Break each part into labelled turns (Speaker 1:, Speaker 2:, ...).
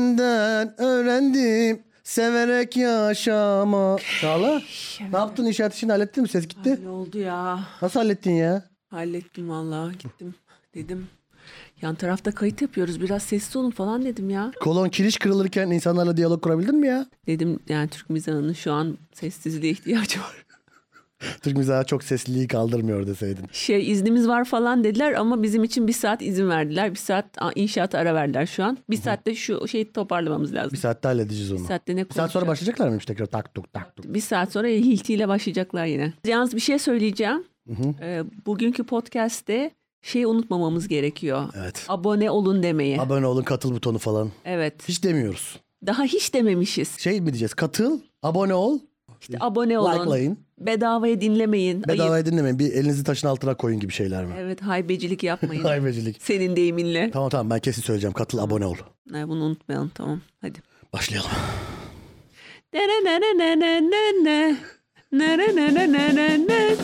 Speaker 1: Senden öğrendim severek yaşama. Çağla ne yaptın inşaat işini hallettin mi? Ses gitti.
Speaker 2: Ne oldu ya?
Speaker 1: Nasıl hallettin ya?
Speaker 2: Hallettim vallahi gittim dedim. Yan tarafta kayıt yapıyoruz biraz sessiz olun falan dedim ya.
Speaker 1: Kolon kiriş kırılırken insanlarla diyalog kurabildin mi ya?
Speaker 2: Dedim yani Türk mizahının şu an sessizliğe ihtiyacı var.
Speaker 1: Türk mizahı çok sesliliği kaldırmıyor deseydin.
Speaker 2: Şey iznimiz var falan dediler ama bizim için bir saat izin verdiler. Bir saat a, inşaata ara verdiler şu an. Bir saatte şu şeyi toparlamamız lazım.
Speaker 1: Bir saatte halledeceğiz onu.
Speaker 2: Bir saatte ne
Speaker 1: Bir saat sonra
Speaker 2: konuşacağız?
Speaker 1: başlayacaklar mıymış tekrar tak tuk tak tuk.
Speaker 2: Bir saat sonra Hilti ile başlayacaklar yine. Yalnız bir şey söyleyeceğim. Ee, bugünkü podcast'te şeyi unutmamamız gerekiyor.
Speaker 1: Evet.
Speaker 2: Abone olun demeyi.
Speaker 1: Abone olun katıl butonu falan.
Speaker 2: evet.
Speaker 1: Hiç demiyoruz.
Speaker 2: Daha hiç dememişiz.
Speaker 1: Şey mi diyeceğiz? Katıl, abone ol,
Speaker 2: İşte abone olun.
Speaker 1: likelayın.
Speaker 2: Bedavaya dinlemeyin. Ayıp.
Speaker 1: Bedavaya dinlemeyin. Bir elinizi taşın altına koyun gibi şeyler mi?
Speaker 2: Evet haybecilik yapmayın.
Speaker 1: Haybecilik.
Speaker 2: Senin deyiminle.
Speaker 1: Tamam tamam ben kesin söyleyeceğim. Katıl, abone ol.
Speaker 2: Ha, bunu unutmayalım tamam. Hadi.
Speaker 1: Başlayalım.
Speaker 2: Ne ne ne ne ne ne ne ne. Ne ne ne ne ne ne ne.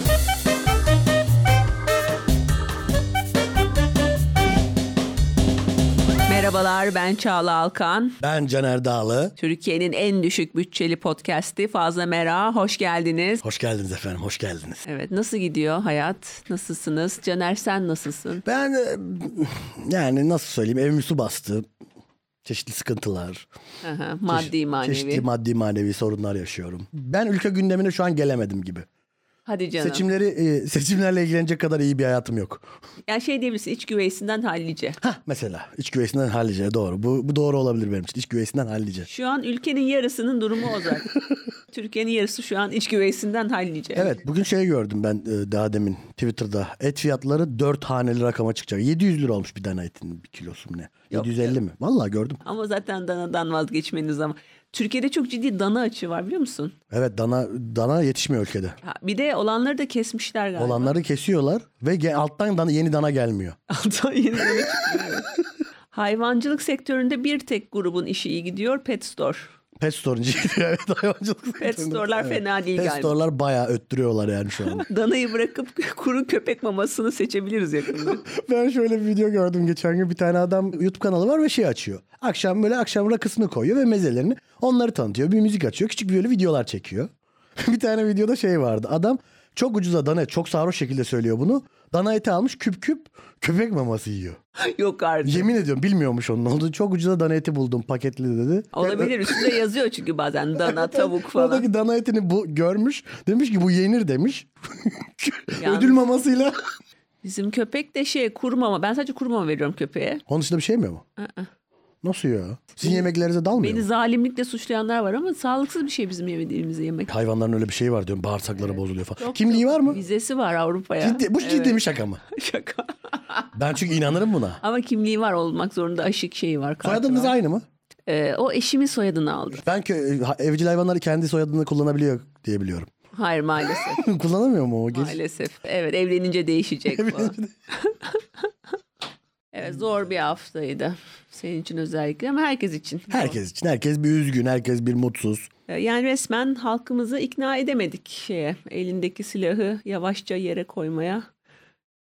Speaker 2: Merhabalar ben Çağla Alkan.
Speaker 1: Ben Caner Dağlı.
Speaker 2: Türkiye'nin en düşük bütçeli podcast'i Fazla Mera. Hoş geldiniz.
Speaker 1: Hoş geldiniz efendim, hoş geldiniz.
Speaker 2: Evet nasıl gidiyor hayat? Nasılsınız? Caner sen nasılsın?
Speaker 1: Ben e, yani nasıl söyleyeyim evimi su bastı. Çeşitli sıkıntılar.
Speaker 2: Aha,
Speaker 1: çeşit-
Speaker 2: maddi
Speaker 1: Çeşitli
Speaker 2: manevi.
Speaker 1: maddi manevi sorunlar yaşıyorum. Ben ülke gündemine şu an gelemedim gibi.
Speaker 2: Hadi canım.
Speaker 1: Seçimleri e, seçimlerle ilgilenecek kadar iyi bir hayatım yok.
Speaker 2: Yani şey diyebilirsin iç güveysinden hallice.
Speaker 1: Hah mesela iç güveysinden hallice doğru. Bu, bu doğru olabilir benim için. İç güveysinden hallice.
Speaker 2: Şu an ülkenin yarısının durumu o zaten. Türkiye'nin yarısı şu an iç güveysinden hallice.
Speaker 1: Evet bugün şey gördüm ben e, daha demin Twitter'da. Et fiyatları 4 haneli rakama çıkacak. 700 lira olmuş bir tane etin bir kilosu mu ne? 750 mi? Vallahi gördüm.
Speaker 2: Ama zaten danadan vazgeçmeniz ama. Türkiye'de çok ciddi dana açığı var biliyor musun?
Speaker 1: Evet dana dana yetişmiyor ülkede.
Speaker 2: Ha, bir de olanları da kesmişler galiba.
Speaker 1: Olanları kesiyorlar ve ge- alttan dana, yeni dana gelmiyor.
Speaker 2: Altan yeni dana çıkıyor. evet. Hayvancılık sektöründe bir tek grubun işi iyi gidiyor. Pet Store.
Speaker 1: Pet store'cı evet hayvancılık.
Speaker 2: Pet
Speaker 1: sektöründe.
Speaker 2: store'lar
Speaker 1: Evet.
Speaker 2: fena değil
Speaker 1: Pet
Speaker 2: galiba.
Speaker 1: store'lar bayağı öttürüyorlar yani şu an.
Speaker 2: Danayı bırakıp kuru köpek mamasını seçebiliriz yakında.
Speaker 1: ben şöyle bir video gördüm geçen gün. Bir tane adam YouTube kanalı var ve şey açıyor. Akşam böyle akşam rakısını koyuyor ve mezelerini onları tanıtıyor. Bir müzik açıyor. Küçük böyle videolar çekiyor. bir tane videoda şey vardı. Adam çok ucuza dana et, çok sarhoş şekilde söylüyor bunu. Dana eti almış küp küp köpek maması yiyor.
Speaker 2: Yok artık.
Speaker 1: Yemin ediyorum bilmiyormuş onun olduğunu. Çok ucuza dana eti buldum paketli dedi.
Speaker 2: Olabilir üstünde yazıyor çünkü bazen dana tavuk falan.
Speaker 1: Buradaki dana etini bu görmüş. Demiş ki bu yenir demiş.
Speaker 2: Yalnız-
Speaker 1: Ödül mamasıyla.
Speaker 2: Bizim köpek de şey kurmama. Ben sadece kurmama veriyorum köpeğe.
Speaker 1: Onun dışında bir şey mi bu? Nasıl ya? Sizin yemeklerinize dalmıyor
Speaker 2: Beni
Speaker 1: mu?
Speaker 2: zalimlikle suçlayanlar var ama sağlıksız bir şey bizim yemediğimiz yemek.
Speaker 1: Hayvanların öyle bir şeyi var diyorum. Bağırsakları bozuluyor falan. Kimliği var mı?
Speaker 2: Vizesi var Avrupa'ya.
Speaker 1: Ciddi, bu ciddi mi şaka mı?
Speaker 2: Şaka.
Speaker 1: Ben çünkü inanırım buna.
Speaker 2: Ama kimliği var olmak zorunda aşık şeyi var. kartı
Speaker 1: Soyadınız
Speaker 2: var.
Speaker 1: aynı mı?
Speaker 2: Ee, o eşimin soyadını aldı.
Speaker 1: Ben kö- e, ha- evcil hayvanları kendi soyadını kullanabiliyor diye biliyorum.
Speaker 2: Hayır maalesef.
Speaker 1: Kullanamıyor mu o? Geç-
Speaker 2: maalesef. Evet evlenince değişecek falan. Evet zor bir haftaydı. Senin için özellikle ama herkes için.
Speaker 1: Herkes için. Herkes bir üzgün, herkes bir mutsuz.
Speaker 2: Ee, Yani resmen halkımızı ikna edemedik şeye. Elindeki silahı yavaşça yere koymaya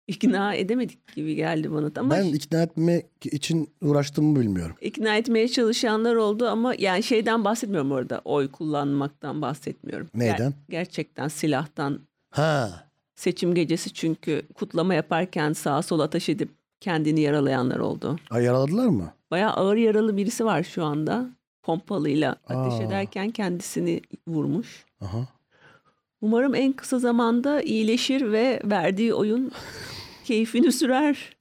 Speaker 2: ikna edemedik gibi geldi bana. da. Ama
Speaker 1: Ben ikna etmek için uğraştığımı bilmiyorum.
Speaker 2: ikna etmeye çalışanlar oldu ama yani şeyden bahsetmiyorum orada. Oy kullanmaktan bahsetmiyorum. Ger-
Speaker 1: Neyden?
Speaker 2: gerçekten silahtan.
Speaker 1: Ha.
Speaker 2: Seçim gecesi çünkü kutlama yaparken sağa sola ateş edip kendini yaralayanlar oldu.
Speaker 1: Ay yaraladılar mı?
Speaker 2: Bayağı ağır yaralı birisi var şu anda. Pompalıyla ateş
Speaker 1: Aa.
Speaker 2: ederken kendisini vurmuş.
Speaker 1: Aha.
Speaker 2: Umarım en kısa zamanda iyileşir ve verdiği oyun keyfini sürer.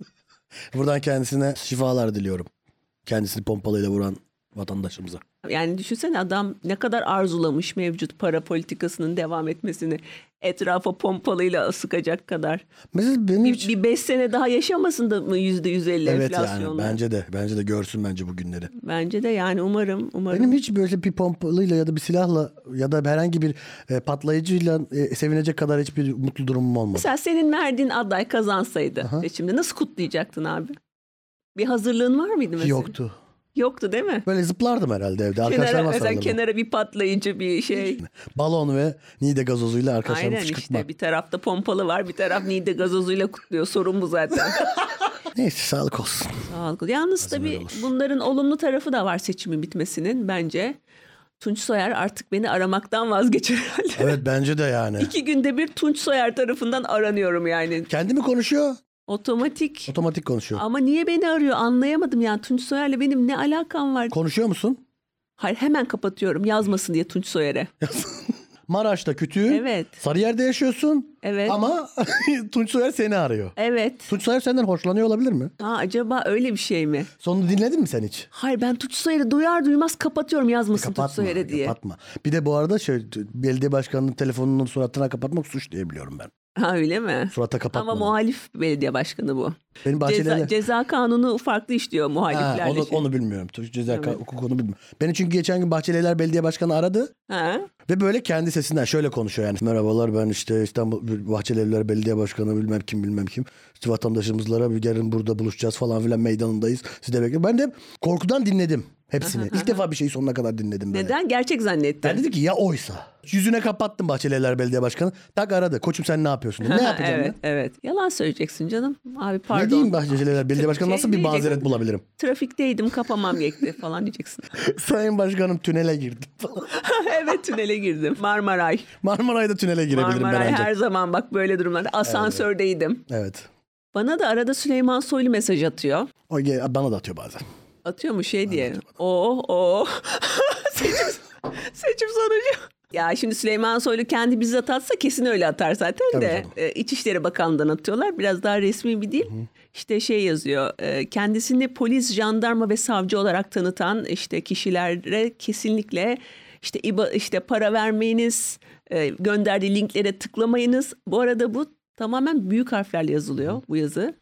Speaker 1: Buradan kendisine şifalar diliyorum. Kendisini pompalayla vuran vatandaşımıza.
Speaker 2: Yani düşünsene adam ne kadar arzulamış mevcut para politikasının devam etmesini. Etrafa pompalıyla sıkacak kadar.
Speaker 1: Mesela benim
Speaker 2: Bir,
Speaker 1: için...
Speaker 2: bir beş sene daha yaşamasın da mı yüzde yüz elli
Speaker 1: Evet yani
Speaker 2: enflasyonla?
Speaker 1: bence de. Bence de görsün bence bu günleri.
Speaker 2: Bence de yani umarım umarım.
Speaker 1: Benim hiç böyle bir pompalıyla ya da bir silahla ya da herhangi bir e, patlayıcıyla e, sevinecek kadar hiçbir mutlu durumum olmadı.
Speaker 2: Mesela senin verdiğin aday kazansaydı seçimde nasıl kutlayacaktın abi? Bir hazırlığın var mıydı mesela?
Speaker 1: Yoktu.
Speaker 2: Yoktu değil mi?
Speaker 1: Böyle zıplardım herhalde evde.
Speaker 2: Kenara,
Speaker 1: Arkadaşlarıma
Speaker 2: mesela
Speaker 1: sarılırdım.
Speaker 2: kenara bir patlayıcı bir şey.
Speaker 1: Balon ve nide gazozuyla arkadaşlarımı
Speaker 2: Aynen
Speaker 1: fışkırtmak.
Speaker 2: işte bir tarafta pompalı var bir taraf Nide gazozuyla kutluyor sorun bu zaten.
Speaker 1: Neyse sağlık olsun.
Speaker 2: Sağlıklı. Yalnız
Speaker 1: Bazen
Speaker 2: tabii
Speaker 1: öyle olur.
Speaker 2: bunların olumlu tarafı da var seçimin bitmesinin bence. Tunç Soyer artık beni aramaktan vazgeçer herhalde.
Speaker 1: Evet bence de yani.
Speaker 2: İki günde bir Tunç Soyer tarafından aranıyorum yani.
Speaker 1: Kendi mi konuşuyor?
Speaker 2: Otomatik.
Speaker 1: Otomatik konuşuyor.
Speaker 2: Ama niye beni arıyor anlayamadım yani Tunç Soyer'le benim ne alakam var?
Speaker 1: Konuşuyor musun?
Speaker 2: Hayır hemen kapatıyorum yazmasın diye Tunç Soyer'e.
Speaker 1: Maraş'ta kütüğün.
Speaker 2: Evet.
Speaker 1: Sarıyer'de yaşıyorsun.
Speaker 2: Evet.
Speaker 1: Ama Tunç Soyer seni arıyor.
Speaker 2: Evet.
Speaker 1: Tunç Soyer senden hoşlanıyor olabilir mi?
Speaker 2: Ha, acaba öyle bir şey mi?
Speaker 1: Sonunu dinledin mi sen hiç?
Speaker 2: Hayır ben Tunç Soyer'i duyar duymaz kapatıyorum yazmasın Tunç Soyer'e diye.
Speaker 1: E, kapatma. Bir de bu arada şey, belediye başkanının telefonunun suratına kapatmak suç diye biliyorum ben.
Speaker 2: Ha öyle mi?
Speaker 1: Surata kapatma.
Speaker 2: Ama muhalif belediye başkanı bu.
Speaker 1: Benim bahçelerde...
Speaker 2: Ceza, ceza kanunu farklı işliyor muhaliflerle.
Speaker 1: Ha, onu,
Speaker 2: şey.
Speaker 1: onu bilmiyorum. Türk ceza
Speaker 2: Evet.
Speaker 1: hukuku onu bilmiyorum. Beni çünkü geçen gün Bahçeliler Belediye Başkanı aradı
Speaker 2: Ha?
Speaker 1: ve böyle kendi sesinden şöyle konuşuyor yani. Merhabalar ben işte İstanbul Bahçelievler Belediye Başkanı bilmem kim bilmem kim. İşte vatandaşımızlara bir gelin burada buluşacağız falan filan meydanındayız. Siz de bekliyorum. Ben de korkudan dinledim hepsini. İlk defa bir şeyi sonuna kadar dinledim. böyle.
Speaker 2: Neden? Gerçek zannetti.
Speaker 1: Ben dedim ki ya oysa. Yüzüne kapattım Bahçelievler Belediye Başkanı. Tak aradı. Koçum sen ne yapıyorsun? dedim. Ne yapacağım
Speaker 2: evet,
Speaker 1: ben?
Speaker 2: evet. Yalan söyleyeceksin canım. Abi pardon.
Speaker 1: Ne diyeyim Bahçelievler Belediye Başkanı
Speaker 2: Şey
Speaker 1: nasıl bir
Speaker 2: diyecektim.
Speaker 1: mazeret bulabilirim?
Speaker 2: Trafikteydim kapamam gerekti falan diyeceksin.
Speaker 1: Sayın Başkanım tünele girdim falan.
Speaker 2: evet tünele girdim. Marmaray.
Speaker 1: Marmaray'da tünele girebilirim ben
Speaker 2: Marmaray
Speaker 1: ancak.
Speaker 2: her zaman bak böyle durumlarda. Asansördeydim.
Speaker 1: Evet.
Speaker 2: Bana da arada Süleyman Soylu mesaj atıyor.
Speaker 1: O ge- bana da atıyor bazen.
Speaker 2: Atıyor mu şey diye. Oo oo. seçim, seçim sonucu. Ya şimdi Süleyman Soylu kendi bizzat atsa kesin öyle atar zaten
Speaker 1: Tabii
Speaker 2: de.
Speaker 1: canım.
Speaker 2: E, İçişleri Bakanlığı'ndan atıyorlar. Biraz daha resmi bir değil. İşte şey yazıyor. e, Kendisini polis, jandarma ve savcı olarak tanıtan işte kişilere kesinlikle işte İBA, işte para vermeyiniz, e, gönderdiği linklere tıklamayınız. Bu arada bu tamamen büyük harflerle yazılıyor bu yazı.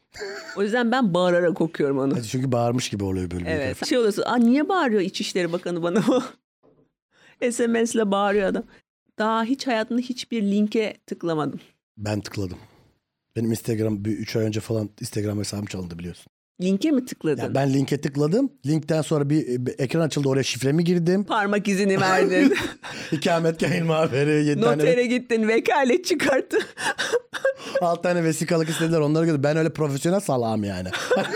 Speaker 2: O yüzden ben bağırarak okuyorum onu.
Speaker 1: Hadi çünkü bağırmış gibi oluyor böyle. bir
Speaker 2: Evet. Şey oluyorsun. Aa, niye bağırıyor İçişleri Bakanı bana o? SMS'le bağırıyor adam. Daha hiç hayatımda hiçbir linke tıklamadım.
Speaker 1: Ben tıkladım. Benim Instagram 3 ay önce falan Instagram hesabım çalındı biliyorsun.
Speaker 2: Linke mi tıkladın?
Speaker 1: Yani ben linke tıkladım. Linkten sonra bir, bir ekran açıldı oraya şifremi girdim.
Speaker 2: Parmak izini verdin.
Speaker 1: İkametgah ilmihaberi 7 tane
Speaker 2: Notere gittin. Vekalet çıkarttın.
Speaker 1: 6 tane vesikalık istediler onları gördüm. Ben öyle profesyonel salağım yani.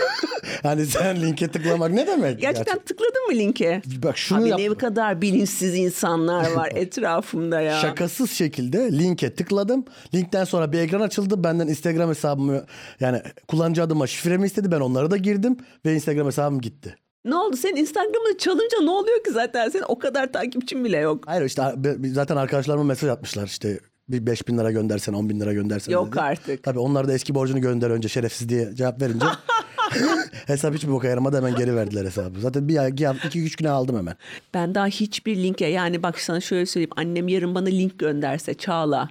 Speaker 1: hani sen linke tıklamak ne demek?
Speaker 2: Gerçekten tıkladın mı linke?
Speaker 1: Gerçi- Bak şunu
Speaker 2: Abi
Speaker 1: yap.
Speaker 2: ne kadar bilinçsiz insanlar var etrafımda ya.
Speaker 1: Şakasız şekilde linke tıkladım. Linkten sonra bir ekran açıldı. Benden Instagram hesabımı yani kullanıcı adıma şifremi istedi. Ben onlara da girdim ve Instagram hesabım gitti.
Speaker 2: Ne oldu? Senin Instagram'ını çalınca ne oluyor ki zaten? Senin o kadar takipçin bile yok.
Speaker 1: Hayır işte be- zaten arkadaşlarıma mesaj atmışlar işte bir 5 bin lira göndersen 10 bin lira göndersen.
Speaker 2: Yok
Speaker 1: dedi.
Speaker 2: artık.
Speaker 1: Tabii onlar da eski borcunu gönder önce şerefsiz diye cevap verince hesap hiçbir boka yaramadı hemen geri verdiler hesabı. Zaten bir ay, iki, hafta- iki üç güne aldım hemen.
Speaker 2: Ben daha hiçbir linke yani bak sana şöyle söyleyeyim annem yarın bana link gönderse Çağla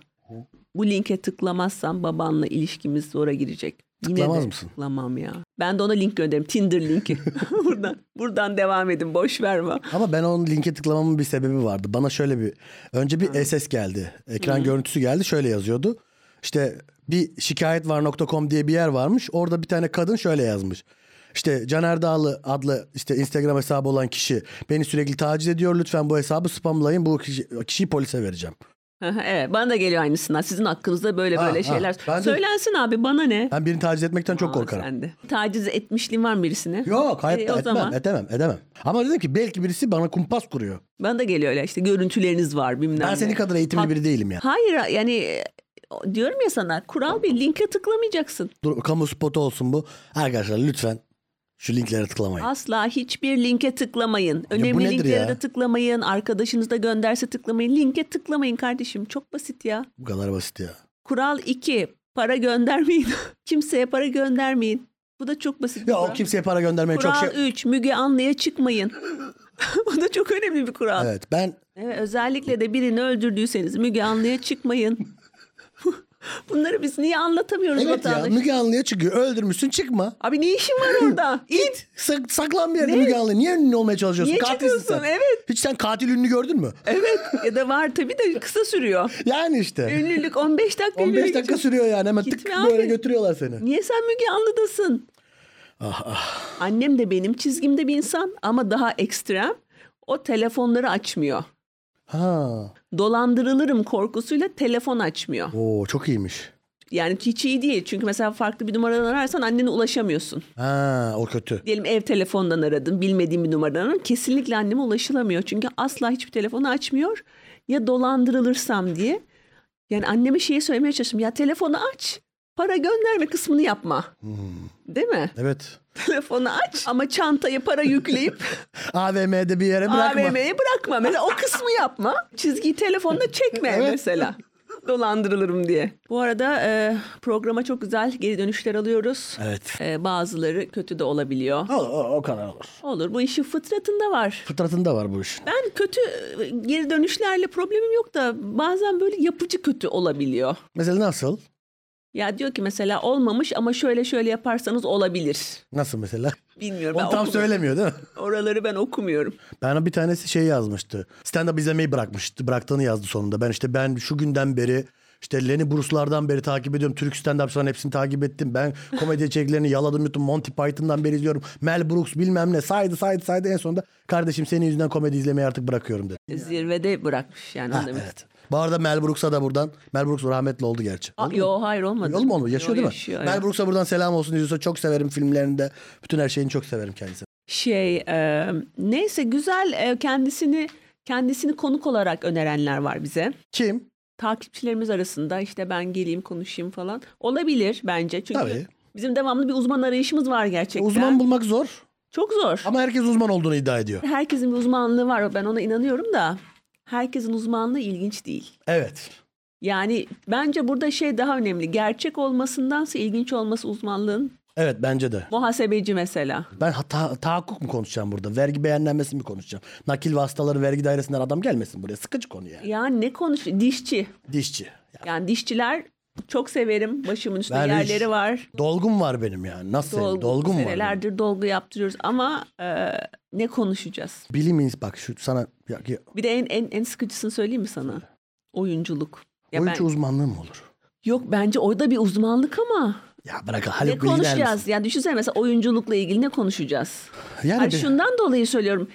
Speaker 2: bu linke tıklamazsam babanla ilişkimiz zora girecek. Yine
Speaker 1: Tıklamaz
Speaker 2: de
Speaker 1: mısın?
Speaker 2: Tıklamam ya. Ben de ona link gönderirim. Tinder linki. buradan buradan devam edin. Boş verme.
Speaker 1: Ama ben onun linke tıklamamın bir sebebi vardı. Bana şöyle bir önce bir SS geldi. Ekran görüntüsü geldi. Şöyle yazıyordu. İşte bir şikayet var .com diye bir yer varmış. Orada bir tane kadın şöyle yazmış. İşte Caner Dağlı adlı işte Instagram hesabı olan kişi beni sürekli taciz ediyor. Lütfen bu hesabı spamlayın. Bu kişi, kişiyi polise vereceğim.
Speaker 2: evet, bana da geliyor aynısından. Sizin hakkınızda böyle
Speaker 1: Ha,
Speaker 2: böyle
Speaker 1: ha.
Speaker 2: şeyler.
Speaker 1: Ben de-
Speaker 2: Söylensin abi bana ne?
Speaker 1: Ben birini taciz etmekten çok
Speaker 2: Aa,
Speaker 1: korkarım.
Speaker 2: sen de. Taciz etmişliğin var mı birisine?
Speaker 1: Yok hayatta
Speaker 2: E, o
Speaker 1: etmem,
Speaker 2: zaman.
Speaker 1: edemem, edemem. Ama dedim ki belki birisi bana kumpas kuruyor.
Speaker 2: Bana da geliyor öyle işte görüntüleriniz var bilmem
Speaker 1: Ben
Speaker 2: ne.
Speaker 1: senin kadar eğitimli
Speaker 2: Ha-
Speaker 1: biri değilim yani.
Speaker 2: Hayır yani e, diyorum ya sana kural bir linke tıklamayacaksın.
Speaker 1: Dur, kamu spotu olsun bu. Arkadaşlar lütfen şu linklere tıklamayın.
Speaker 2: Asla hiçbir linke tıklamayın.
Speaker 1: bu
Speaker 2: Önemli
Speaker 1: nedir
Speaker 2: linklere
Speaker 1: ya?
Speaker 2: de tıklamayın. Arkadaşınız da gönderse tıklamayın. Linke tıklamayın kardeşim. Çok basit ya.
Speaker 1: Bu kadar basit ya.
Speaker 2: Kural 2. Para göndermeyin. Kimseye para göndermeyin. Bu da çok basit bir
Speaker 1: Ya o
Speaker 2: kural.
Speaker 1: kimseye para göndermeye çok
Speaker 2: Kural
Speaker 1: şey...
Speaker 2: 3. Müge Anlı'ya çıkmayın. Bu da çok önemli bir kural.
Speaker 1: Evet ben
Speaker 2: Evet, özellikle de birini öldürdüyseniz Müge Anlı'ya çıkmayın. Bunları biz niye anlatamıyoruz
Speaker 1: evet ya
Speaker 2: vatandaşa?
Speaker 1: Müge Anlı'ya çıkıyor. Öldürmüşsün çıkma.
Speaker 2: Abi ne işin var orada?
Speaker 1: Git sak- saklan bir yerde Müge Anlı. Niye ünlü olmaya çalışıyorsun?
Speaker 2: Niye
Speaker 1: Katilsin
Speaker 2: çıkıyorsun?
Speaker 1: sen.
Speaker 2: Evet.
Speaker 1: Hiç sen katil ünlü gördün mü?
Speaker 2: Evet ya da var tabii de kısa sürüyor.
Speaker 1: Yani işte.
Speaker 2: Ünlülük 15 dakika.
Speaker 1: 15
Speaker 2: ünlülük.
Speaker 1: dakika sürüyor yani hemen
Speaker 2: Gitme
Speaker 1: tık
Speaker 2: abi.
Speaker 1: böyle götürüyorlar seni.
Speaker 2: Niye sen Müge Anlı'dasın?
Speaker 1: Ah ah.
Speaker 2: Annem de benim çizgimde bir insan ama daha ekstrem. O telefonları açmıyor.
Speaker 1: Ha.
Speaker 2: Dolandırılırım korkusuyla telefon açmıyor.
Speaker 1: Oo çok iyiymiş.
Speaker 2: Yani hiç iyi değil. Çünkü mesela farklı bir numaradan ararsan annene ulaşamıyorsun.
Speaker 1: Ha o kötü.
Speaker 2: Diyelim ev telefondan aradım, bilmediğim bir numaradan aradım. Kesinlikle anneme ulaşılamıyor. Çünkü asla hiçbir telefonu açmıyor. Ya dolandırılırsam diye. Yani anneme şeyi söylemeye çalıştım. Ya telefonu aç, para gönderme kısmını yapma.
Speaker 1: Hmm.
Speaker 2: Değil mi?
Speaker 1: Evet.
Speaker 2: Telefonu aç ama çantaya para yükleyip
Speaker 1: AVM'de bir yere bırakma.
Speaker 2: AVM'ye bırakma. Mesela o kısmı yapma. Çizgiyi telefonla çekme
Speaker 1: Evet.
Speaker 2: mesela. Dolandırılırım diye. Bu arada e, programa çok güzel geri dönüşler alıyoruz.
Speaker 1: Evet.
Speaker 2: E, bazıları kötü de olabiliyor.
Speaker 1: O, o, o kadar olur.
Speaker 2: Olur bu işin fıtratında var.
Speaker 1: Fıtratında var bu işin.
Speaker 2: Ben kötü e, geri dönüşlerle problemim yok da bazen böyle yapıcı kötü olabiliyor.
Speaker 1: Mesela nasıl?
Speaker 2: Ya diyor ki mesela olmamış ama şöyle şöyle yaparsanız olabilir.
Speaker 1: Nasıl mesela?
Speaker 2: Bilmiyorum.
Speaker 1: Onu
Speaker 2: ben
Speaker 1: tam
Speaker 2: okumuyorum.
Speaker 1: söylemiyor değil mi?
Speaker 2: Oraları ben okumuyorum.
Speaker 1: Ben bir tanesi şey yazmıştı. Stand-up izlemeyi bırakmıştı. Bıraktığını yazdı sonunda. Ben işte ben şu günden beri işte Lenny Bruce'lardan beri takip ediyorum. Türk stand-upçıların hepsini takip ettim. Ben komedi içeriklerini yaladım yuttum. Monty Python'dan beri izliyorum. Mel Brooks bilmem ne saydı saydı saydı. En sonunda kardeşim senin yüzünden komedi izlemeyi artık bırakıyorum dedi.
Speaker 2: Zirvede bırakmış yani. onu demek
Speaker 1: Evet. Bu arada Mel Brooks'a da buradan. Mel Brooks rahmetli oldu gerçi.
Speaker 2: Aa, yo hayır olmadı.
Speaker 1: Oğlum onu yaşıyor
Speaker 2: Yo,
Speaker 1: değil mi?
Speaker 2: yaşıyor, evet.
Speaker 1: Mel Brooks'a buradan selam olsun diyorsa çok severim filmlerinde. Bütün her şeyini çok severim kendisini.
Speaker 2: Şey e, neyse güzel e, kendisini kendisini konuk olarak önerenler var bize.
Speaker 1: Kim?
Speaker 2: Takipçilerimiz arasında işte ben geleyim konuşayım falan olabilir bence. Çünkü
Speaker 1: Tabii.
Speaker 2: bizim devamlı bir uzman arayışımız var gerçekten.
Speaker 1: Uzman bulmak zor
Speaker 2: Çok zor.
Speaker 1: ama herkes uzman olduğunu iddia ediyor.
Speaker 2: Herkesin bir uzmanlığı var ben ona inanıyorum da herkesin uzmanlığı ilginç değil.
Speaker 1: Evet.
Speaker 2: Yani bence burada şey daha önemli. Gerçek olmasındansa ilginç olması uzmanlığın.
Speaker 1: Evet bence de.
Speaker 2: Muhasebeci mesela.
Speaker 1: Ben hata, tahakkuk mu konuşacağım burada? Vergi beğenlenmesi mi konuşacağım? Nakil vasıtaları vergi dairesinden adam gelmesin buraya. Sıkıcı konu yani.
Speaker 2: Yani ne konuş dişçi.
Speaker 1: Dişçi. Ya,
Speaker 2: Yani dişçiler çok severim. Başımın üstünde
Speaker 1: Ben hiç-
Speaker 2: yerleri var.
Speaker 1: dolgum var benim yani. Nasıl? Dolgum, dolgum var. benim.
Speaker 2: senelerdir dolgu yaptırıyoruz ama e, ne konuşacağız?
Speaker 1: Bilim ins- bak şu sana ya, ya,
Speaker 2: Bir de en en en sıkıcısını söyleyeyim mi sana? Oyunculuk. Ya
Speaker 1: oyuncu
Speaker 2: ben-
Speaker 1: uzmanlığı mı olur?
Speaker 2: yok bence orada bir uzmanlık ama
Speaker 1: Ya bırak
Speaker 2: ne
Speaker 1: Haluk Bilginer misin?
Speaker 2: konuşacağız? Yani düşünsene mesela oyunculukla ilgili ne konuşacağız?
Speaker 1: Yani
Speaker 2: Hayır,
Speaker 1: bir-
Speaker 2: şundan dolayı söylüyorum.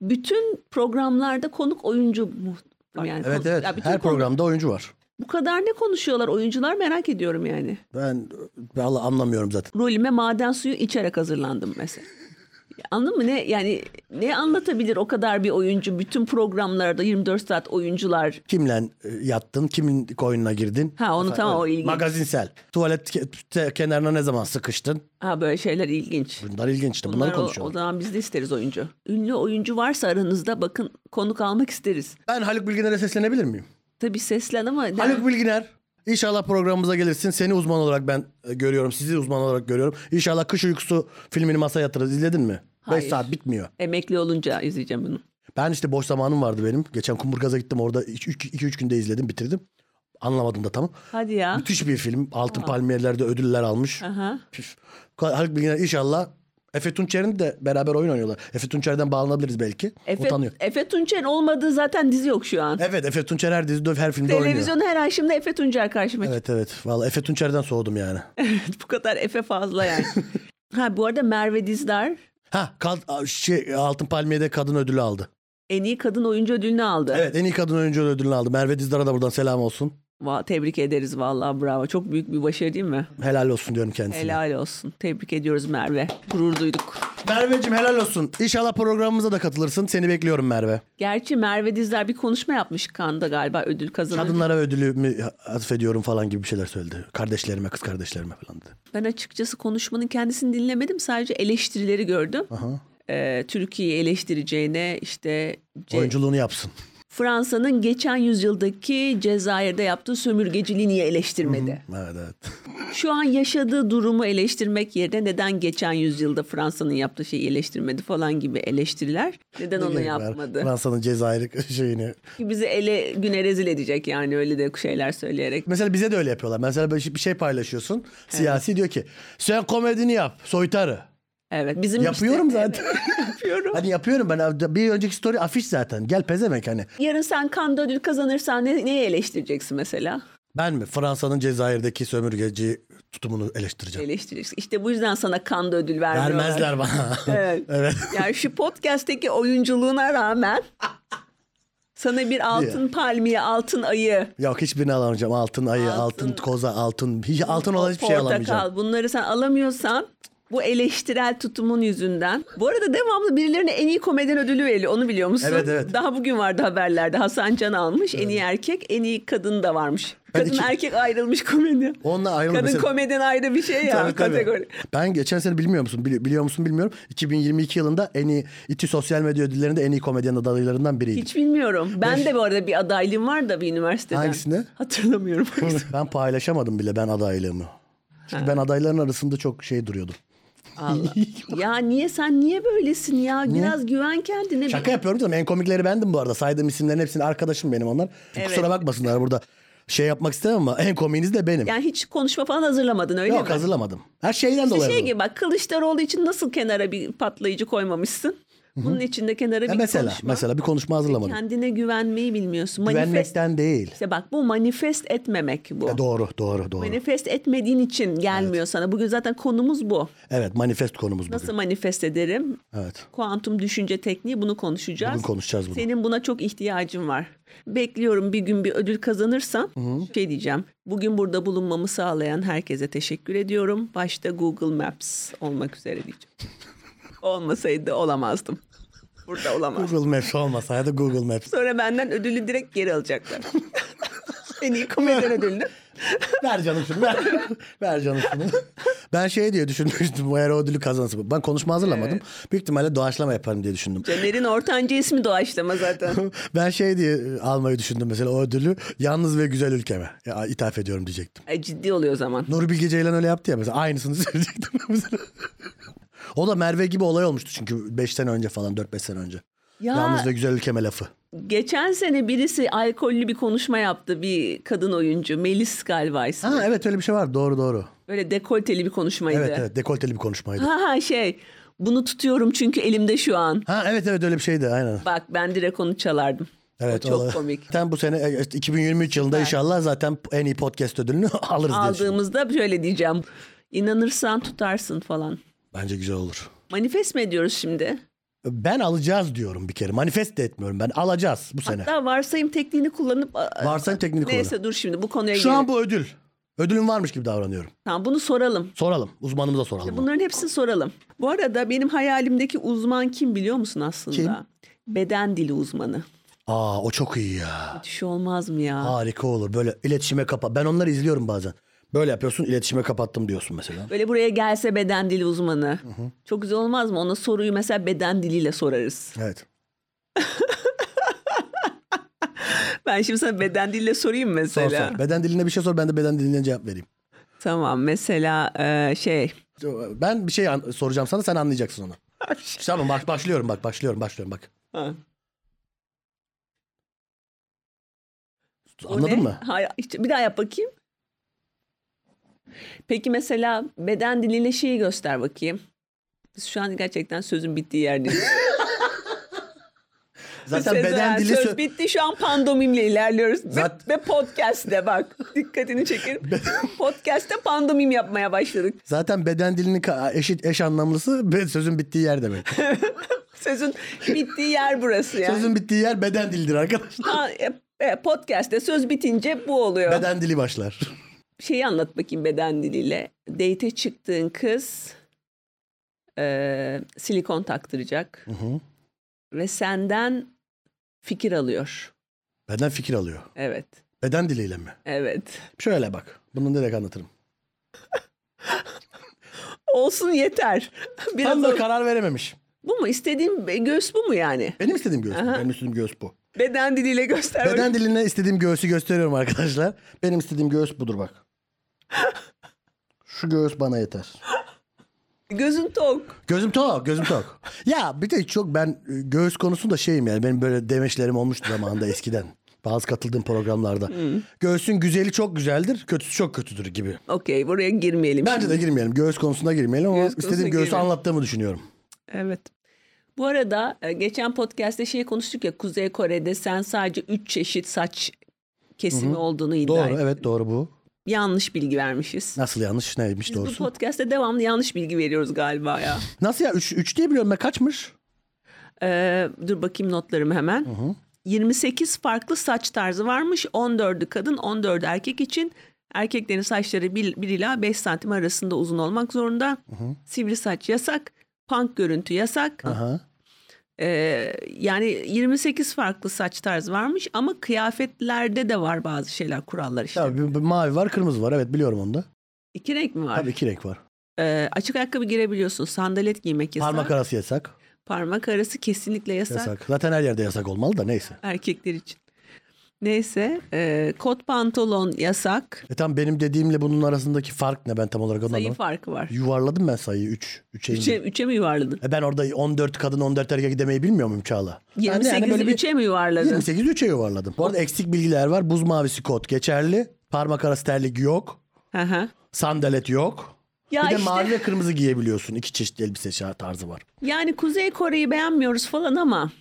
Speaker 2: Bütün programlarda konuk oyuncu mu? Yani
Speaker 1: evet
Speaker 2: konu-
Speaker 1: evet.
Speaker 2: ya bütün
Speaker 1: Her
Speaker 2: konu-
Speaker 1: programda oyuncu var.
Speaker 2: bu kadar ne konuşuyorlar oyuncular merak ediyorum yani.
Speaker 1: Ben valla anlamıyorum zaten.
Speaker 2: rolüme maden suyu içerek hazırlandım mesela. Anladın mı ne yani ne anlatabilir o kadar bir oyuncu bütün programlarda 24 saat oyuncular
Speaker 1: Kimle e, yattın? Kimin koyununa girdin?
Speaker 2: ha onu tamam o ilginç
Speaker 1: Magazinsel. Tuvalet ke- te- kenarına ne zaman sıkıştın?
Speaker 2: ha böyle şeyler ilginç
Speaker 1: Bunlar ilginç işte. Bunları
Speaker 2: Bunlar o- o,
Speaker 1: konuşuyorlar.
Speaker 2: zaman biz de isteriz oyuncu ünlü oyuncu varsa aranızda bakın konuk almak isteriz
Speaker 1: Ben Haluk Bilginer'e seslenebilir miyim?
Speaker 2: tabi seslen ama
Speaker 1: Haluk Bilginer. İnşallah programımıza gelirsin. Seni uzman olarak ben e, görüyorum. Sizi uzman olarak görüyorum. İnşallah Kış Uykusu filmini masaya yatırırız. İzledin mi? 5
Speaker 2: Hayır.
Speaker 1: saat bitmiyor.
Speaker 2: emekli olunca izleyeceğim bunu
Speaker 1: Ben işte boş zamanım vardı benim. Geçen Kumburgaz'a gittim. Orada 2-3 günde izledim. Bitirdim. Anlamadım da tamam.
Speaker 2: hadi ya
Speaker 1: Müthiş bir film. Altın Palmiyeler'de ödüller almış.
Speaker 2: Aha.
Speaker 1: Püf. Haluk Bilginer inşallah. Efe Tunçer'in de beraber oyun oynuyorlar. Efe Tunçer'den bağlanabiliriz belki.
Speaker 2: Efe,
Speaker 1: Utanıyor.
Speaker 2: Efe Tunçer olmadığı zaten dizi yok şu an.
Speaker 1: Evet Efe Tunçer her dizide her filmde oynuyor.
Speaker 2: Televizyonda her ay şimdi Efe Tunçer karşıma
Speaker 1: Evet evet. Vallahi Efe Tunçer'den soğudum yani.
Speaker 2: Bu kadar Efe fazla yani. ha bu arada Merve Dizdar
Speaker 1: Ha kal- şey, Altın Palmiye'de kadın ödülü aldı.
Speaker 2: en iyi kadın oyuncu ödülünü aldı.
Speaker 1: Evet en iyi kadın oyuncu ödülünü aldı. Merve Dizdar'a da buradan selam olsun.
Speaker 2: Va- tebrik ederiz vallahi bravo. Çok büyük bir başarı değil mi?
Speaker 1: Helal olsun diyorum kendisine.
Speaker 2: Helal olsun. Tebrik ediyoruz Merve. Gurur duyduk.
Speaker 1: Merveciğim helal olsun. İnşallah programımıza da katılırsın. Seni bekliyorum Merve.
Speaker 2: Gerçi Merve Dizdar bir konuşma yapmış Kanda galiba ödül kazanır.
Speaker 1: Kadınlara ödülümü atfediyorum falan gibi bir şeyler söyledi. Kardeşlerime, kız kardeşlerime falan dedi.
Speaker 2: Ben açıkçası konuşmanın kendisini dinlemedim. Sadece eleştirileri gördüm.
Speaker 1: Aha.
Speaker 2: Ee, Türkiye'yi eleştireceğine işte ce-
Speaker 1: Oyunculuğunu yapsın.
Speaker 2: Fransa'nın geçen yüzyıldaki Cezayir'de yaptığı sömürgeciliği niye eleştirmedi?
Speaker 1: Evet evet.
Speaker 2: Şu an yaşadığı durumu eleştirmek yerine neden geçen yüzyılda Fransa'nın yaptığı şeyi eleştirmedi falan gibi eleştiriler. Neden onu
Speaker 1: Gerek var.
Speaker 2: yapmadı?
Speaker 1: Fransa'nın Cezayir şeyini.
Speaker 2: Ki Bizi ele güne rezil edecek yani öyle de şeyler söyleyerek.
Speaker 1: Mesela bize de öyle yapıyorlar. Mesela böyle bir şey paylaşıyorsun. Siyasi diyor ki sen komedini yap soytarı.
Speaker 2: Evet bizim
Speaker 1: Yapıyorum
Speaker 2: işte-
Speaker 1: zaten.
Speaker 2: Evet, yapıyorum.
Speaker 1: Hani yapıyorum ben bir önceki story afiş zaten. Gel pezemek hani.
Speaker 2: Yarın sen kan ödül kazanırsan ne, neyi eleştireceksin mesela?
Speaker 1: Ben mi? Fransa'nın Cezayir'deki sömürgeci tutumunu eleştireceğim.
Speaker 2: Eleştireceksin. İşte bu yüzden sana kan ödül vermiyorlar.
Speaker 1: Vermezler bana.
Speaker 2: Evet.
Speaker 1: evet.
Speaker 2: Yani şu podcast'teki oyunculuğuna rağmen Sana bir altın palmiye, altın ayı,
Speaker 1: Yok hiçbirini alamayacağım. Altın ayı, altın, koza, altın. Hiç, altın olan hiçbir şey alamayacağım.
Speaker 2: portakal bunları sen alamıyorsan bu eleştirel tutumun yüzünden. Bu arada devamlı birilerine en iyi komedyen ödülü veriliyor. Onu biliyor musun?
Speaker 1: Evet, evet.
Speaker 2: Daha bugün vardı haberlerde. Hasan Can almış. En iyi erkek, en iyi kadın da varmış.
Speaker 1: Ben
Speaker 2: Kadın
Speaker 1: iki-
Speaker 2: erkek ayrılmış komedyen.
Speaker 1: Onunla ayrılma
Speaker 2: Kadın
Speaker 1: mesela-
Speaker 2: komedyen ayrı bir şey ya
Speaker 1: Tabii, tabii.
Speaker 2: kategori.
Speaker 1: Ben geçen sene bilmiyor musun? Bili- biliyor musun bilmiyorum. 2022 yılında en iyi İTÜ sosyal medya ödüllerinde en iyi komedyen adaylarından biriydi.
Speaker 2: Hiç bilmiyorum. Ben de bu arada bir adaylığım var da bir üniversiteden.
Speaker 1: Hangisinde?
Speaker 2: Hatırlamıyorum.
Speaker 1: ben paylaşamadım bile ben adaylığımı. Çünkü ben adayların arasında çok şey duruyordum.
Speaker 2: Allah. ya niye sen niye böylesin ya? Biraz güven kendine.
Speaker 1: Şaka yapıyorum canım. En komikleri bendim bu arada. Saydığım isimlerin hepsinin arkadaşım benim onlar. Şimdi
Speaker 2: Evet.
Speaker 1: Kusura bakmasınlar burada. Şey yapmak istemem ama en komiğiniz de benim.
Speaker 2: Yani hiç konuşma falan hazırlamadın öyle
Speaker 1: Yok
Speaker 2: mi?
Speaker 1: hazırlamadım. Her şeyden
Speaker 2: Bir
Speaker 1: dolayı.
Speaker 2: şey
Speaker 1: hazırladım.
Speaker 2: gibi bak Kılıçdaroğlu için nasıl kenara bir patlayıcı koymamışsın? Bunun için de kenara bir
Speaker 1: Ya E, mesela
Speaker 2: hani konuşma.
Speaker 1: mesela bir konuşma hazırlamadım.
Speaker 2: Kendine güvenmeyi bilmiyorsun. Manifest.
Speaker 1: Güvenmekten değil.
Speaker 2: İşte bak bu manifest etmemek bu.
Speaker 1: Ya doğru, doğru, doğru.
Speaker 2: Manifest etmediğin için gelmiyor sana. Bugün zaten konumuz bu.
Speaker 1: Evet, manifest konumuz bugün.
Speaker 2: Nasıl manifest ederim?
Speaker 1: Evet.
Speaker 2: Kuantum düşünce tekniği bunu konuşacağız.
Speaker 1: Bugün konuşacağız bunu.
Speaker 2: Senin buna çok ihtiyacın var. Bekliyorum bir gün bir ödül kazanırsan şey diyeceğim. Bugün burada bulunmamı sağlayan herkese teşekkür ediyorum. Başta Google Maps olmak üzere diyeceğim. Olmasaydı olamazdım. Burada olamazdım.
Speaker 1: Google Maps olmasaydı Google Maps.
Speaker 2: Sonra benden ödülü direkt geri alacaklar. en iyi komedyen ödülünü.
Speaker 1: ver canım şunu ver. ver canım şunu. Ben şey diye düşünmüştüm bu eğer o ödülü kazansın. Ben konuşma hazırlamadım. Büyük ihtimalle doğaçlama yaparım diye düşündüm.
Speaker 2: Caner'in ortanca ismi doğaçlama zaten.
Speaker 1: ben şey diye e, almayı düşündüm mesela o ödülü yalnız ve güzel ülkeme ya, ithaf ediyorum diyecektim.
Speaker 2: Ay, ciddi oluyor o zaman.
Speaker 1: Nuri Bilge Ceylan öyle yaptı ya mesela aynısını söyleyecektim mesela. o da Merve gibi olay olmuştu çünkü 5 sene önce falan 4-5 sene önce.
Speaker 2: Ya-
Speaker 1: Yalnız ve güzel ülkeme lafı.
Speaker 2: Geçen sene birisi alkollü bir konuşma yaptı bir kadın oyuncu. Melis galiba ismi.
Speaker 1: Ha evet öyle bir şey var doğru doğru.
Speaker 2: Böyle dekolteli bir konuşmaydı.
Speaker 1: Evet evet dekolteli bir konuşmaydı.
Speaker 2: Ha ha şey bunu tutuyorum çünkü elimde şu an.
Speaker 1: Ha evet evet öyle bir şeydi aynen.
Speaker 2: Bak ben direkt onu çalardım.
Speaker 1: Evet
Speaker 2: o çok
Speaker 1: o-
Speaker 2: komik.
Speaker 1: Zaten bu sene e, işte 2023 yılında inşallah zaten en iyi podcast ödülünü alırız diye düşünüyorum.
Speaker 2: Aldığımızda şöyle diyeceğim. İnanırsan tutarsın falan.
Speaker 1: Bence güzel olur.
Speaker 2: Manifest mi ediyoruz şimdi?
Speaker 1: Ben alacağız diyorum bir kere. Manifest de etmiyorum ben. Alacağız bu sene.
Speaker 2: Hatta varsayım tekniğini kullanıp...
Speaker 1: Varsayım tekniğini
Speaker 2: Neyse
Speaker 1: kullanalım.
Speaker 2: dur şimdi bu konuya
Speaker 1: Şu an
Speaker 2: girelim.
Speaker 1: bu ödül. Ödülün varmış gibi davranıyorum.
Speaker 2: Tamam, bunu soralım.
Speaker 1: Soralım. Uzmanımıza soralım.
Speaker 2: Bunların hepsini soralım. Bu arada benim hayalimdeki uzman kim biliyor musun aslında?
Speaker 1: Kim?
Speaker 2: Beden dili uzmanı.
Speaker 1: Aa o çok iyi ya.
Speaker 2: Müthiş olmaz mı ya?
Speaker 1: Harika olur. Böyle iletişime kapat. Ben onları izliyorum bazen. Böyle yapıyorsun iletişime kapattım diyorsun mesela.
Speaker 2: Böyle buraya gelse beden dili uzmanı. Çok güzel olmaz mı? Ona soruyu mesela beden diliyle sorarız.
Speaker 1: Evet.
Speaker 2: Ben şimdi sana beden diliyle sorayım
Speaker 1: Sor,
Speaker 2: mesela.
Speaker 1: sor. Beden diline bir şey sor ben de beden diline cevap vereyim.
Speaker 2: Tamam mesela e, şey.
Speaker 1: Ben bir şey an- soracağım sana sen anlayacaksın onu. tamam bak başlıyorum bak başlıyorum başlıyorum bak.
Speaker 2: Ha, o
Speaker 1: Anladın
Speaker 2: ne?
Speaker 1: mı?
Speaker 2: Hayır, hiç- bir daha yap bakayım. Peki mesela beden diliyle şeyi göster bakayım. Biz şu an gerçekten sözün bittiği yerdeyiz.
Speaker 1: Zaten
Speaker 2: Söz-
Speaker 1: beden dili
Speaker 2: söz
Speaker 1: sö-
Speaker 2: bitti şu an pandomimle ilerliyoruz. Ve-
Speaker 1: Zat-
Speaker 2: Ve podcast'te bak dikkatini çekin. podcast'te pandomim yapmaya başladık.
Speaker 1: zaten beden dilinin ka- eşit eş anlamlısı be- sözün bittiği yer demek.
Speaker 2: Sözün bittiği yer burası yani.
Speaker 1: Sözün bittiği yer beden dilidir arkadaşlar.
Speaker 2: Ha, e, e, podcast'te söz bitince bu oluyor.
Speaker 1: Beden dili başlar.
Speaker 2: Şeyi anlat bakayım beden diliyle. Date'e çıktığın kız e, silikon taktıracak ve senden fikir alıyor.
Speaker 1: Beden fikir alıyor.
Speaker 2: Evet,
Speaker 1: Beden diliyle mi?
Speaker 2: evet.
Speaker 1: Şöyle bak. Bunu direkt anlatırım.
Speaker 2: Olsun yeter. Biraz
Speaker 1: Tam da
Speaker 2: al-
Speaker 1: karar verememiş.
Speaker 2: bu mu? İstediğim be- göğüs bu mu yani?
Speaker 1: Benim istediğim göğüs. bu. Benim istediğim göğüs bu.
Speaker 2: Beden diliyle göster.
Speaker 1: Beden diline istediğim göğsü gösteriyorum arkadaşlar. Benim istediğim göğüs budur bak. Şu göğüs bana yeter.
Speaker 2: Gözün tok.
Speaker 1: Gözüm tok, gözüm tok. ya bir de çok ben e, göğüs konusunda şeyim yani. Benim böyle demeçlerim olmuştu zamanında eskiden. Bazı katıldığım programlarda.
Speaker 2: Hmm.
Speaker 1: Göğsün güzeli çok güzeldir, kötüsü çok kötüdür gibi.
Speaker 2: Okey buraya girmeyelim.
Speaker 1: Bence de girmeyelim. Göğüs konusunda girmeyelim ama
Speaker 2: Göğüs konusuna
Speaker 1: istediğim göğsü
Speaker 2: girmeyelim.
Speaker 1: anlattığımı düşünüyorum.
Speaker 2: Evet. Bu arada e, geçen podcast'te şey konuştuk ya Kuzey Kore'de sen sadece 3 çeşit saç kesimi olduğunu iddia
Speaker 1: Doğru,
Speaker 2: ettin.
Speaker 1: evet doğru bu.
Speaker 2: Yanlış bilgi vermişiz.
Speaker 1: Nasıl yanlış, neymiş
Speaker 2: Biz bu
Speaker 1: doğrusu?
Speaker 2: podcast'te devamlı yanlış bilgi veriyoruz galiba ya.
Speaker 1: Nasıl ya? Üç, üç diye biliyorum ben kaçmış?
Speaker 2: Ee, dur bakayım notlarımı hemen. 28 farklı saç tarzı varmış. 14'ü kadın, 14'ü erkek için. Erkeklerin saçları 1, ila 5 santim arasında uzun olmak zorunda. Sivri saç yasak. Punk görüntü yasak.
Speaker 1: Aha.
Speaker 2: Ee, yani 28 farklı saç tarzı varmış ama kıyafetlerde de var bazı şeyler, kurallar işte.
Speaker 1: Ya, bir- bir mavi var kırmızı var evet biliyorum onu da.
Speaker 2: İki renk mi var?
Speaker 1: Tabii iki renk var.
Speaker 2: Ee, açık ayakkabı girebiliyorsun. Sandalet giymek yasak.
Speaker 1: Parmak
Speaker 2: Parmak,
Speaker 1: arası yasak.
Speaker 2: arası kesinlikle yasak,
Speaker 1: Yasak. Zaten her yerde yasak olmalı da neyse.
Speaker 2: erkekler için. Neyse, e, kot pantolon yasak.
Speaker 1: E tam benim dediğimle bunun arasındaki fark ne ben tam olarak onu
Speaker 2: Sayı
Speaker 1: anlamadım.
Speaker 2: farkı var.
Speaker 1: Yuvarladım ben sayıyı 3. 3'e
Speaker 2: Üçe, üçe mi yuvarladın?
Speaker 1: E ben orada 14 kadın 14 erkek demeyi bilmiyor muyum Çağla? Ben de
Speaker 2: 28'i
Speaker 1: bir
Speaker 2: üçe mi yuvarladın?
Speaker 1: 28 3'e yuvarladım. Bu arada eksik bilgiler var. Buz mavisi kot geçerli. Parmak arası terlik yok.
Speaker 2: Hı hı.
Speaker 1: Sandalet yok.
Speaker 2: Ya
Speaker 1: bir de
Speaker 2: işte.
Speaker 1: mavi ve kırmızı giyebiliyorsun. İki çeşit elbise şa- tarzı var.
Speaker 2: Yani Kuzey Kore'yi beğenmiyoruz falan ama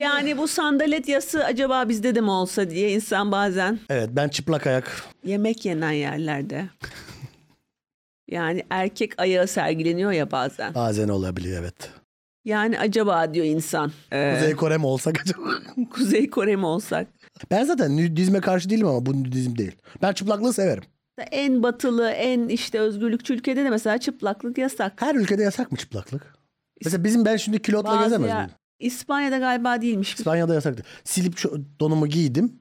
Speaker 2: yani bu sandalet yası acaba bizde de mi olsa diye insan bazen
Speaker 1: Evet ben çıplak ayak
Speaker 2: yemek yenen yerlerde yani erkek ayağı sergileniyor ya bazen.
Speaker 1: bazen olabiliyor evet.
Speaker 2: Yani acaba diyor insan. e,
Speaker 1: Kuzey Kore mi olsak acaba?
Speaker 2: Kuzey Kore mi olsak?
Speaker 1: ben zaten nudizme karşı değilim ama bu nudizm değil. Ben çıplaklığı severim.
Speaker 2: En batılı, en işte özgürlükçü ülkede de mesela çıplaklık yasak.
Speaker 1: Her ülkede yasak mı çıplaklık? Mesela bizim ben şimdi kilotla
Speaker 2: Bazı
Speaker 1: gezemez
Speaker 2: yer-
Speaker 1: miyim?
Speaker 2: İspanya'da galiba değilmiş.
Speaker 1: İspanya'da yasaktı. Silip şu donumu giydim.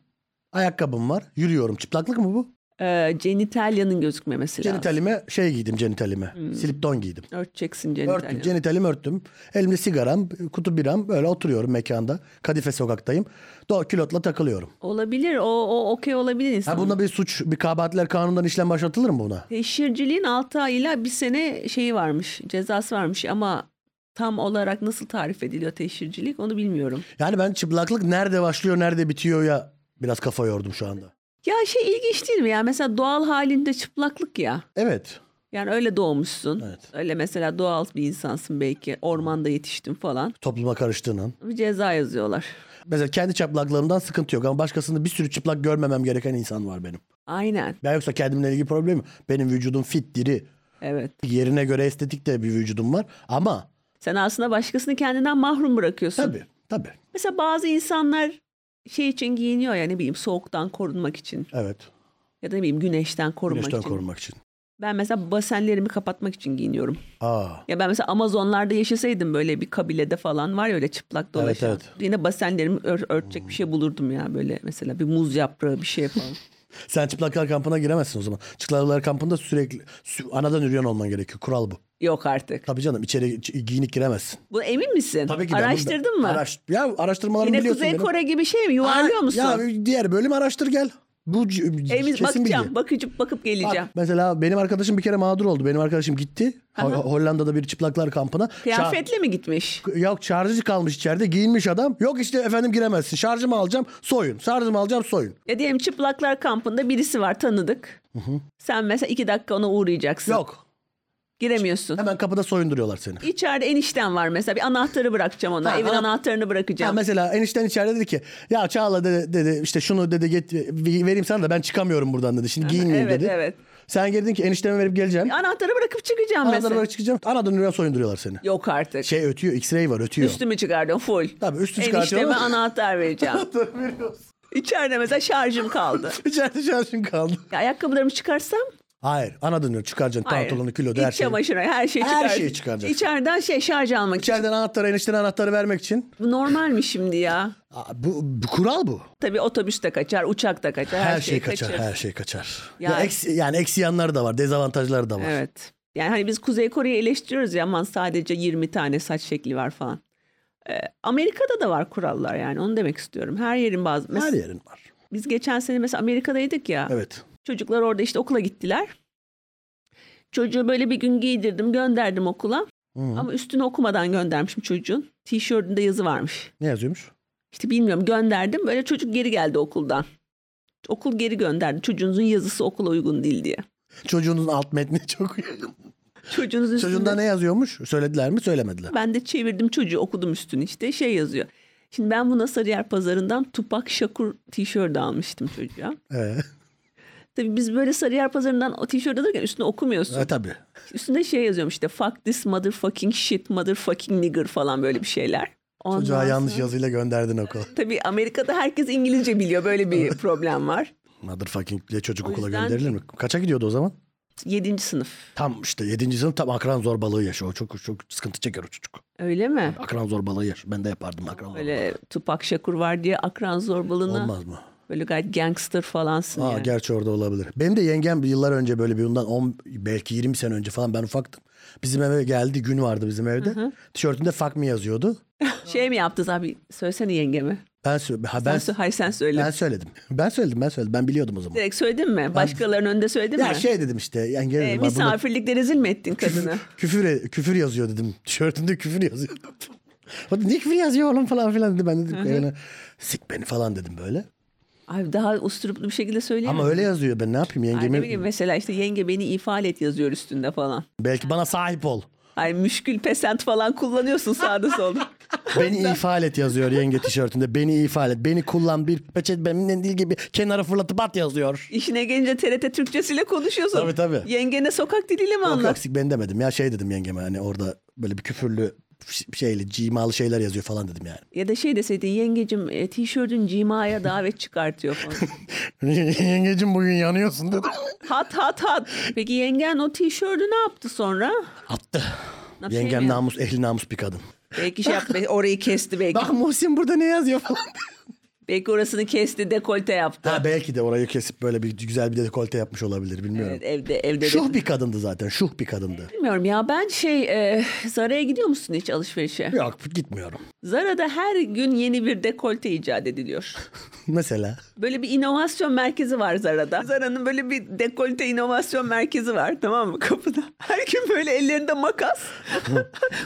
Speaker 1: Ayakkabım var. Yürüyorum. Çıplaklık mı bu?
Speaker 2: Ee, genitalyanın gözükmemesi lazım.
Speaker 1: Genitalime şey giydim genitalime. Silip don giydim.
Speaker 2: Örteceksin
Speaker 1: Örttüm.
Speaker 2: genitalyanı.
Speaker 1: Genitalimi örttüm. Elimde sigaram, kutu biram. Böyle oturuyorum mekanda. Kadife sokaktayım. Do kilotla takılıyorum.
Speaker 2: Olabilir. O, o okey olabilir
Speaker 1: Ha
Speaker 2: insan.
Speaker 1: bunda bir suç, bir kabahatler kanundan işlem başlatılır mı buna?
Speaker 2: Teşhirciliğin 6 ay ile bir sene şeyi varmış. Cezası varmış ama tam olarak nasıl tarif ediliyor teşhircilik onu bilmiyorum.
Speaker 1: Yani ben çıplaklık nerede başlıyor, nerede bitiyor ya biraz kafa yordum şu anda.
Speaker 2: Ya şey ilginç değil mi ya? Mesela doğal halinde çıplaklık ya.
Speaker 1: Evet.
Speaker 2: Yani öyle doğmuşsun.
Speaker 1: Evet.
Speaker 2: Öyle mesela doğal bir insansın belki. Ormanda yetiştin falan.
Speaker 1: Topluma karıştığın an.
Speaker 2: Bir ceza yazıyorlar.
Speaker 1: Mesela kendi çıplaklarımdan sıkıntı yok ama başkasında bir sürü çıplak görmemem gereken insan var benim.
Speaker 2: Aynen.
Speaker 1: Ben yoksa kendimle ilgili problemim. Benim vücudum fit, diri.
Speaker 2: Evet.
Speaker 1: Yerine göre estetik de bir vücudum var. Ama
Speaker 2: Sen aslında başkasını kendinden mahrum bırakıyorsun.
Speaker 1: tabii, tabii.
Speaker 2: Mesela bazı insanlar şey için giyiniyor ya ne bileyim soğuktan korunmak için
Speaker 1: Evet.
Speaker 2: ya da ne bileyim güneşten korunmak
Speaker 1: Güneşten
Speaker 2: için.
Speaker 1: korunmak için.
Speaker 2: Ben mesela basenlerimi kapatmak için giyiniyorum.
Speaker 1: Aa.
Speaker 2: Ya ben mesela Amazonlarda yaşasaydım böyle bir kabilede falan var ya öyle çıplak dolaşan.
Speaker 1: evet.
Speaker 2: Yine basenlerimi ör- örtecek bir şey bulurdum ya böyle mesela bir muz yaprağı bir şey falan.
Speaker 1: Sen çıplaklar kampına giremezsin o zaman. Çıplaklar kampında sürekli sü- anadan üryan olman gerekiyor. Kural bu.
Speaker 2: Yok artık.
Speaker 1: Tabii canım içeri ç- giyinik giremezsin.
Speaker 2: Bu emin misin?
Speaker 1: Tabii ki ben bunu-
Speaker 2: Araştırdın mı?
Speaker 1: Araş- ya araştırmalarımı
Speaker 2: Yine
Speaker 1: biliyorsun
Speaker 2: Kuzey
Speaker 1: benim.
Speaker 2: Kore gibi şey mi? Yuvarlıyor
Speaker 1: Aa,
Speaker 2: musun?
Speaker 1: Ya diğer bölüm araştır gel. Bu c-
Speaker 2: Emin
Speaker 1: kesin
Speaker 2: bakacağım.
Speaker 1: bilgi.
Speaker 2: Bakıcıp bakıp
Speaker 1: Bak,
Speaker 2: geleceğim.
Speaker 1: mesela benim arkadaşım bir kere mağdur oldu. Benim arkadaşım gitti. Ho- Hollanda'da bir çıplaklar kampına. Şa-
Speaker 2: Kıyafetle mi gitmiş?
Speaker 1: Yok şarjı kalmış içeride giyinmiş adam. Yok işte efendim giremezsin. Şarjımı alacağım soyun. Şarjımı alacağım soyun.
Speaker 2: Ya diyelim çıplaklar kampında birisi var tanıdık. Sen mesela iki dakika ona uğrayacaksın.
Speaker 1: Yok.
Speaker 2: Giremiyorsun.
Speaker 1: Hemen kapıda soyunduruyorlar seni.
Speaker 2: İçeride enişten var mesela bir anahtarı bırakacağım ona.
Speaker 1: Ha,
Speaker 2: Evin
Speaker 1: ana-
Speaker 2: anahtarını
Speaker 1: Ya
Speaker 2: bırakacağım.
Speaker 1: mesela enişten içeride dedi ki ya Çağla dedi, dedi işte şunu dedi get, vereyim sana da ben çıkamıyorum buradan dedi. Şimdi giyinmeyeyim
Speaker 2: evet
Speaker 1: dedi.
Speaker 2: evet.
Speaker 1: Sen girdin ki enişteme verip geleceğim.
Speaker 2: Anahtarı bırakıp çıkacağım
Speaker 1: Anadan
Speaker 2: mesela.
Speaker 1: böyle çıkacağım. Anadan ürüne soyunduruyorlar seni.
Speaker 2: Yok artık.
Speaker 1: Şey ötüyor x-ray var ötüyor.
Speaker 2: Üstümü çıkardım full.
Speaker 1: Tabii, üstü
Speaker 2: Enişteme
Speaker 1: çıkartıyorum.
Speaker 2: anahtar vereceğim. İçeride mesela şarjım kaldı.
Speaker 1: İçeride şarjın kaldı.
Speaker 2: Ya ayakkabılarımı çıkarsam?
Speaker 1: Hayır anadan ürün çıkaracaksın.
Speaker 2: Hayır.
Speaker 1: Pantolonu kilo her
Speaker 2: İç
Speaker 1: şeyi.
Speaker 2: çamaşırı her şeyi
Speaker 1: Her
Speaker 2: çıkar.
Speaker 1: şeyi çıkaracaksın.
Speaker 2: İçeriden şey şarj almak için.
Speaker 1: İçeriden anahtarı eniştene anahtarı vermek için.
Speaker 2: Bu normal mi şimdi ya?
Speaker 1: Aa, Bu, bu kural bu.
Speaker 2: Tabii otobüs de kaçar, uçak da kaçar.
Speaker 1: Her,
Speaker 2: Her,
Speaker 1: şey, kaçar,
Speaker 2: kaçar.
Speaker 1: her şey kaçar. Ya
Speaker 2: Yani-
Speaker 1: eksi- yani eksi yanları da var, dezavantajları da var.
Speaker 2: Evet. Yani hani biz Kuzey Kore'yi eleştiriyoruz ya aman sadece 20 tane saç şekli var falan. Ee, Amerika'da da var kurallar yani onu demek istiyorum. Her yerin bazı. Mes-
Speaker 1: Her yerin var.
Speaker 2: Biz geçen sene mesela Amerika'daydık ya.
Speaker 1: Evet.
Speaker 2: Çocuklar orada işte okula gittiler. Çocuğu böyle bir gün giydirdim gönderdim okula.
Speaker 1: Hı.
Speaker 2: Ama üstünü okumadan göndermişim çocuğun. Tişörtünde yazı varmış.
Speaker 1: Ne yazıyormuş?
Speaker 2: İşte bilmiyorum gönderdim. Böyle çocuk geri geldi okuldan. Okul geri gönderdi. Çocuğunuzun yazısı okula uygun değil diye.
Speaker 1: Çocuğunun alt metni çok uygun.
Speaker 2: Çocuğunuzun üstünde-
Speaker 1: Çocuğunda ne yazıyormuş? Söylediler mi? Söylemediler.
Speaker 2: Ben de çevirdim çocuğu okudum üstünü işte şey yazıyor. Şimdi ben buna Sarıyer Pazarı'ndan Tupak Şakur tişört almıştım çocuğa.
Speaker 1: Ee,
Speaker 2: Tabii biz böyle Sarıyer Pazarı'ndan o tişört alırken üstüne okumuyorsun.
Speaker 1: e, tabii.
Speaker 2: Üstünde şey yazıyormuş işte fuck this motherfucking shit motherfucking nigger falan böyle bir şeyler. Ondan
Speaker 1: Çocuğa yanlış
Speaker 2: sonra-
Speaker 1: yazıyla gönderdin okula.
Speaker 2: Tabii Amerika'da herkes İngilizce biliyor. Böyle bir problem var.
Speaker 1: Motherfucking diye çocuk
Speaker 2: O
Speaker 1: okula
Speaker 2: yüzden-
Speaker 1: gönderilir mi? Kaça gidiyordu o zaman?
Speaker 2: 7. sınıf.
Speaker 1: Tam işte 7. sınıf tam akran zorbalığı yaşıyor. O Çok çok sıkıntı çeker o çocuk.
Speaker 2: Öyle mi?
Speaker 1: Akran zorbalığı yaşıyor. Ben de yapardım akran zorbalığı.
Speaker 2: Böyle Tupak Şakur var diye akran zorbalığına
Speaker 1: Olmaz mı?
Speaker 2: böyle gayet gangster falansın
Speaker 1: Aa,
Speaker 2: yani.
Speaker 1: gerçi orada olabilir. Benim de yengem bir yıllar önce böyle bir bundan 10 belki 20 sene önce falan ben ufaktım. Bizim eve geldi gün vardı bizim evde. Tişörtünde fuck me yazıyordu.
Speaker 2: Şey mi yaptınız abi? Söylesene yengeme.
Speaker 1: Ben, sö- ha,
Speaker 2: Ben,
Speaker 1: ben,
Speaker 2: sö- hayır sen söyle.
Speaker 1: ben söyledim. Ben söyledim ben söyledim. Ben biliyordum o zaman.
Speaker 2: Direkt söyledin mi? Başkalarının önünde söyledin
Speaker 1: Ya
Speaker 2: mi?
Speaker 1: şey dedim işte yenge
Speaker 2: E,
Speaker 1: dedim. "Ha, bunu-
Speaker 2: misafirlikte rezil mi ettin kadını?
Speaker 1: küfür küfür yazıyor dedim. Tişörtümde küfür yazıyor. o da niye küfür yazıyor oğlum falan filan dedi. Ben dedim yani, sik beni falan dedim böyle.
Speaker 2: Abi daha usturuplu bir şekilde söyleyemem.
Speaker 1: Ama öyle yazıyor ben ne yapayım
Speaker 2: Ay, ne
Speaker 1: yengemi
Speaker 2: bileyim, mesela işte yenge beni ifade et yazıyor üstünde falan.
Speaker 1: belki bana sahip ol.
Speaker 2: Ay müşkül pesent falan kullanıyorsun sağda solda.
Speaker 1: Beni ifade et yazıyor yenge tişörtünde. Beni ifade et. Beni kullan bir peçet benimle dil gibi kenara fırlatıp at yazıyor.
Speaker 2: İşine gelince TRT Türkçesiyle konuşuyorsun.
Speaker 1: Tabii, tabii.
Speaker 2: Yengene sokak diliyle
Speaker 1: Yok
Speaker 2: mi
Speaker 1: yok
Speaker 2: anlat?
Speaker 1: sik ben demedim ya şey dedim yengeme hani orada böyle bir küfürlü ş- şeyli cimalı şeyler yazıyor falan dedim yani.
Speaker 2: Ya da şey deseydin yengecim e, tişörtün cimaya davet çıkartıyor falan.
Speaker 1: Yengecim bugün yanıyorsun dedim.
Speaker 2: hat hat hat. Peki yengen o tişörtü ne yaptı sonra?
Speaker 1: Attı.
Speaker 2: Nasıl şey
Speaker 1: Yengem
Speaker 2: yemiyor?
Speaker 1: namus ehli namus bir kadın.
Speaker 2: Belki şey yaptı. belki Orayı kesti belki.
Speaker 1: Bak Muhsin burada ne yazıyor falan.
Speaker 2: Belki orasını kesti dekolte yaptı.
Speaker 1: Ha belki de orayı kesip böyle bir güzel bir dekolte yapmış olabilir bilmiyorum.
Speaker 2: Evet, evde evde de.
Speaker 1: Şuh bir kadındı zaten. Şuh bir kadındı.
Speaker 2: Bilmiyorum ya ben şey e, Zara'ya gidiyor musun hiç alışverişe?
Speaker 1: Yok gitmiyorum.
Speaker 2: Zara'da her gün yeni bir dekolte icat ediliyor.
Speaker 1: Mesela
Speaker 2: Böyle bir inovasyon merkezi var Zara'da. Zara'nın böyle bir dekolte inovasyon merkezi var tamam mı kapıda. Her gün böyle ellerinde makas.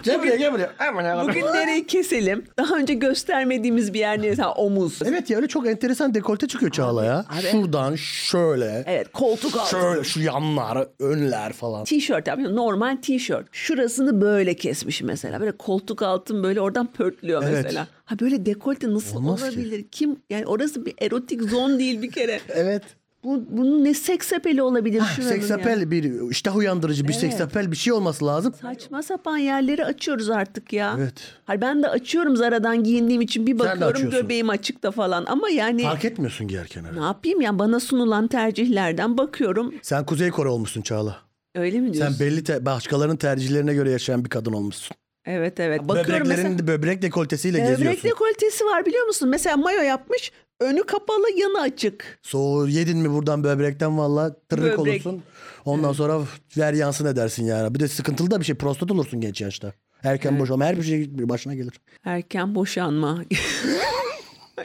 Speaker 1: Gel buraya gel buraya. Aman Allah'ım.
Speaker 2: Bugün nereyi keselim? Daha önce göstermediğimiz bir yer neyse ha, omuz.
Speaker 1: Evet ya öyle çok enteresan dekolte çıkıyor Çağla ya. Şuradan şöyle.
Speaker 2: Evet koltuk altı.
Speaker 1: Şöyle şu yanlar, önler falan.
Speaker 2: Tişört yapıyorum. Normal tişört. Şurasını böyle kesmiş mesela. Böyle koltuk altın böyle oradan pörtlüyor
Speaker 1: Evet.
Speaker 2: mesela. Ha böyle dekolte nasıl
Speaker 1: Olmaz ki.
Speaker 2: olabilir? Kim? Yani orası bir erotik zon değil bir kere.
Speaker 1: Evet.
Speaker 2: Bu, bunun ne seksapeli olabilir şuranın ya?
Speaker 1: Seksapel bir iştah uyandırıcı bir seksapel bir şey olması lazım.
Speaker 2: Saçma sapan yerleri açıyoruz artık ya.
Speaker 1: Evet.
Speaker 2: Hayır ben de açıyorum Zara'dan giyindiğim için bir
Speaker 1: de
Speaker 2: bakıyorum
Speaker 1: açıyorsun.
Speaker 2: göbeğim açıkta falan ama yani
Speaker 1: Fark etmiyorsun giyerken öyle.
Speaker 2: ne yapayım ya bana sunulan tercihlerden bakıyorum.
Speaker 1: Sen Kuzey Kore olmuşsun Çağla.
Speaker 2: Öyle mi diyorsun?
Speaker 1: Sen belli te- başkalarının tercihlerine göre yaşayan bir kadın olmuşsun.
Speaker 2: evet evet. Bakıyorum mesela
Speaker 1: Böbreklerin de böbrek dekoltesiyle
Speaker 2: böbrek
Speaker 1: geziyorsun.
Speaker 2: dekoltesi Ee, var biliyor musun? Mesela mayo yapmış önü kapalı yanı açık.
Speaker 1: Soğuğu yedin mi buradan böbrekten valla tırnak
Speaker 2: Böbrek.
Speaker 1: olursun. Ondan sonra ver yansın edersin yani. Bir de sıkıntılı da bir şey prostat olursun genç yaşta. Erken boşanma her bir şey başına gelir.
Speaker 2: Erken boşanma.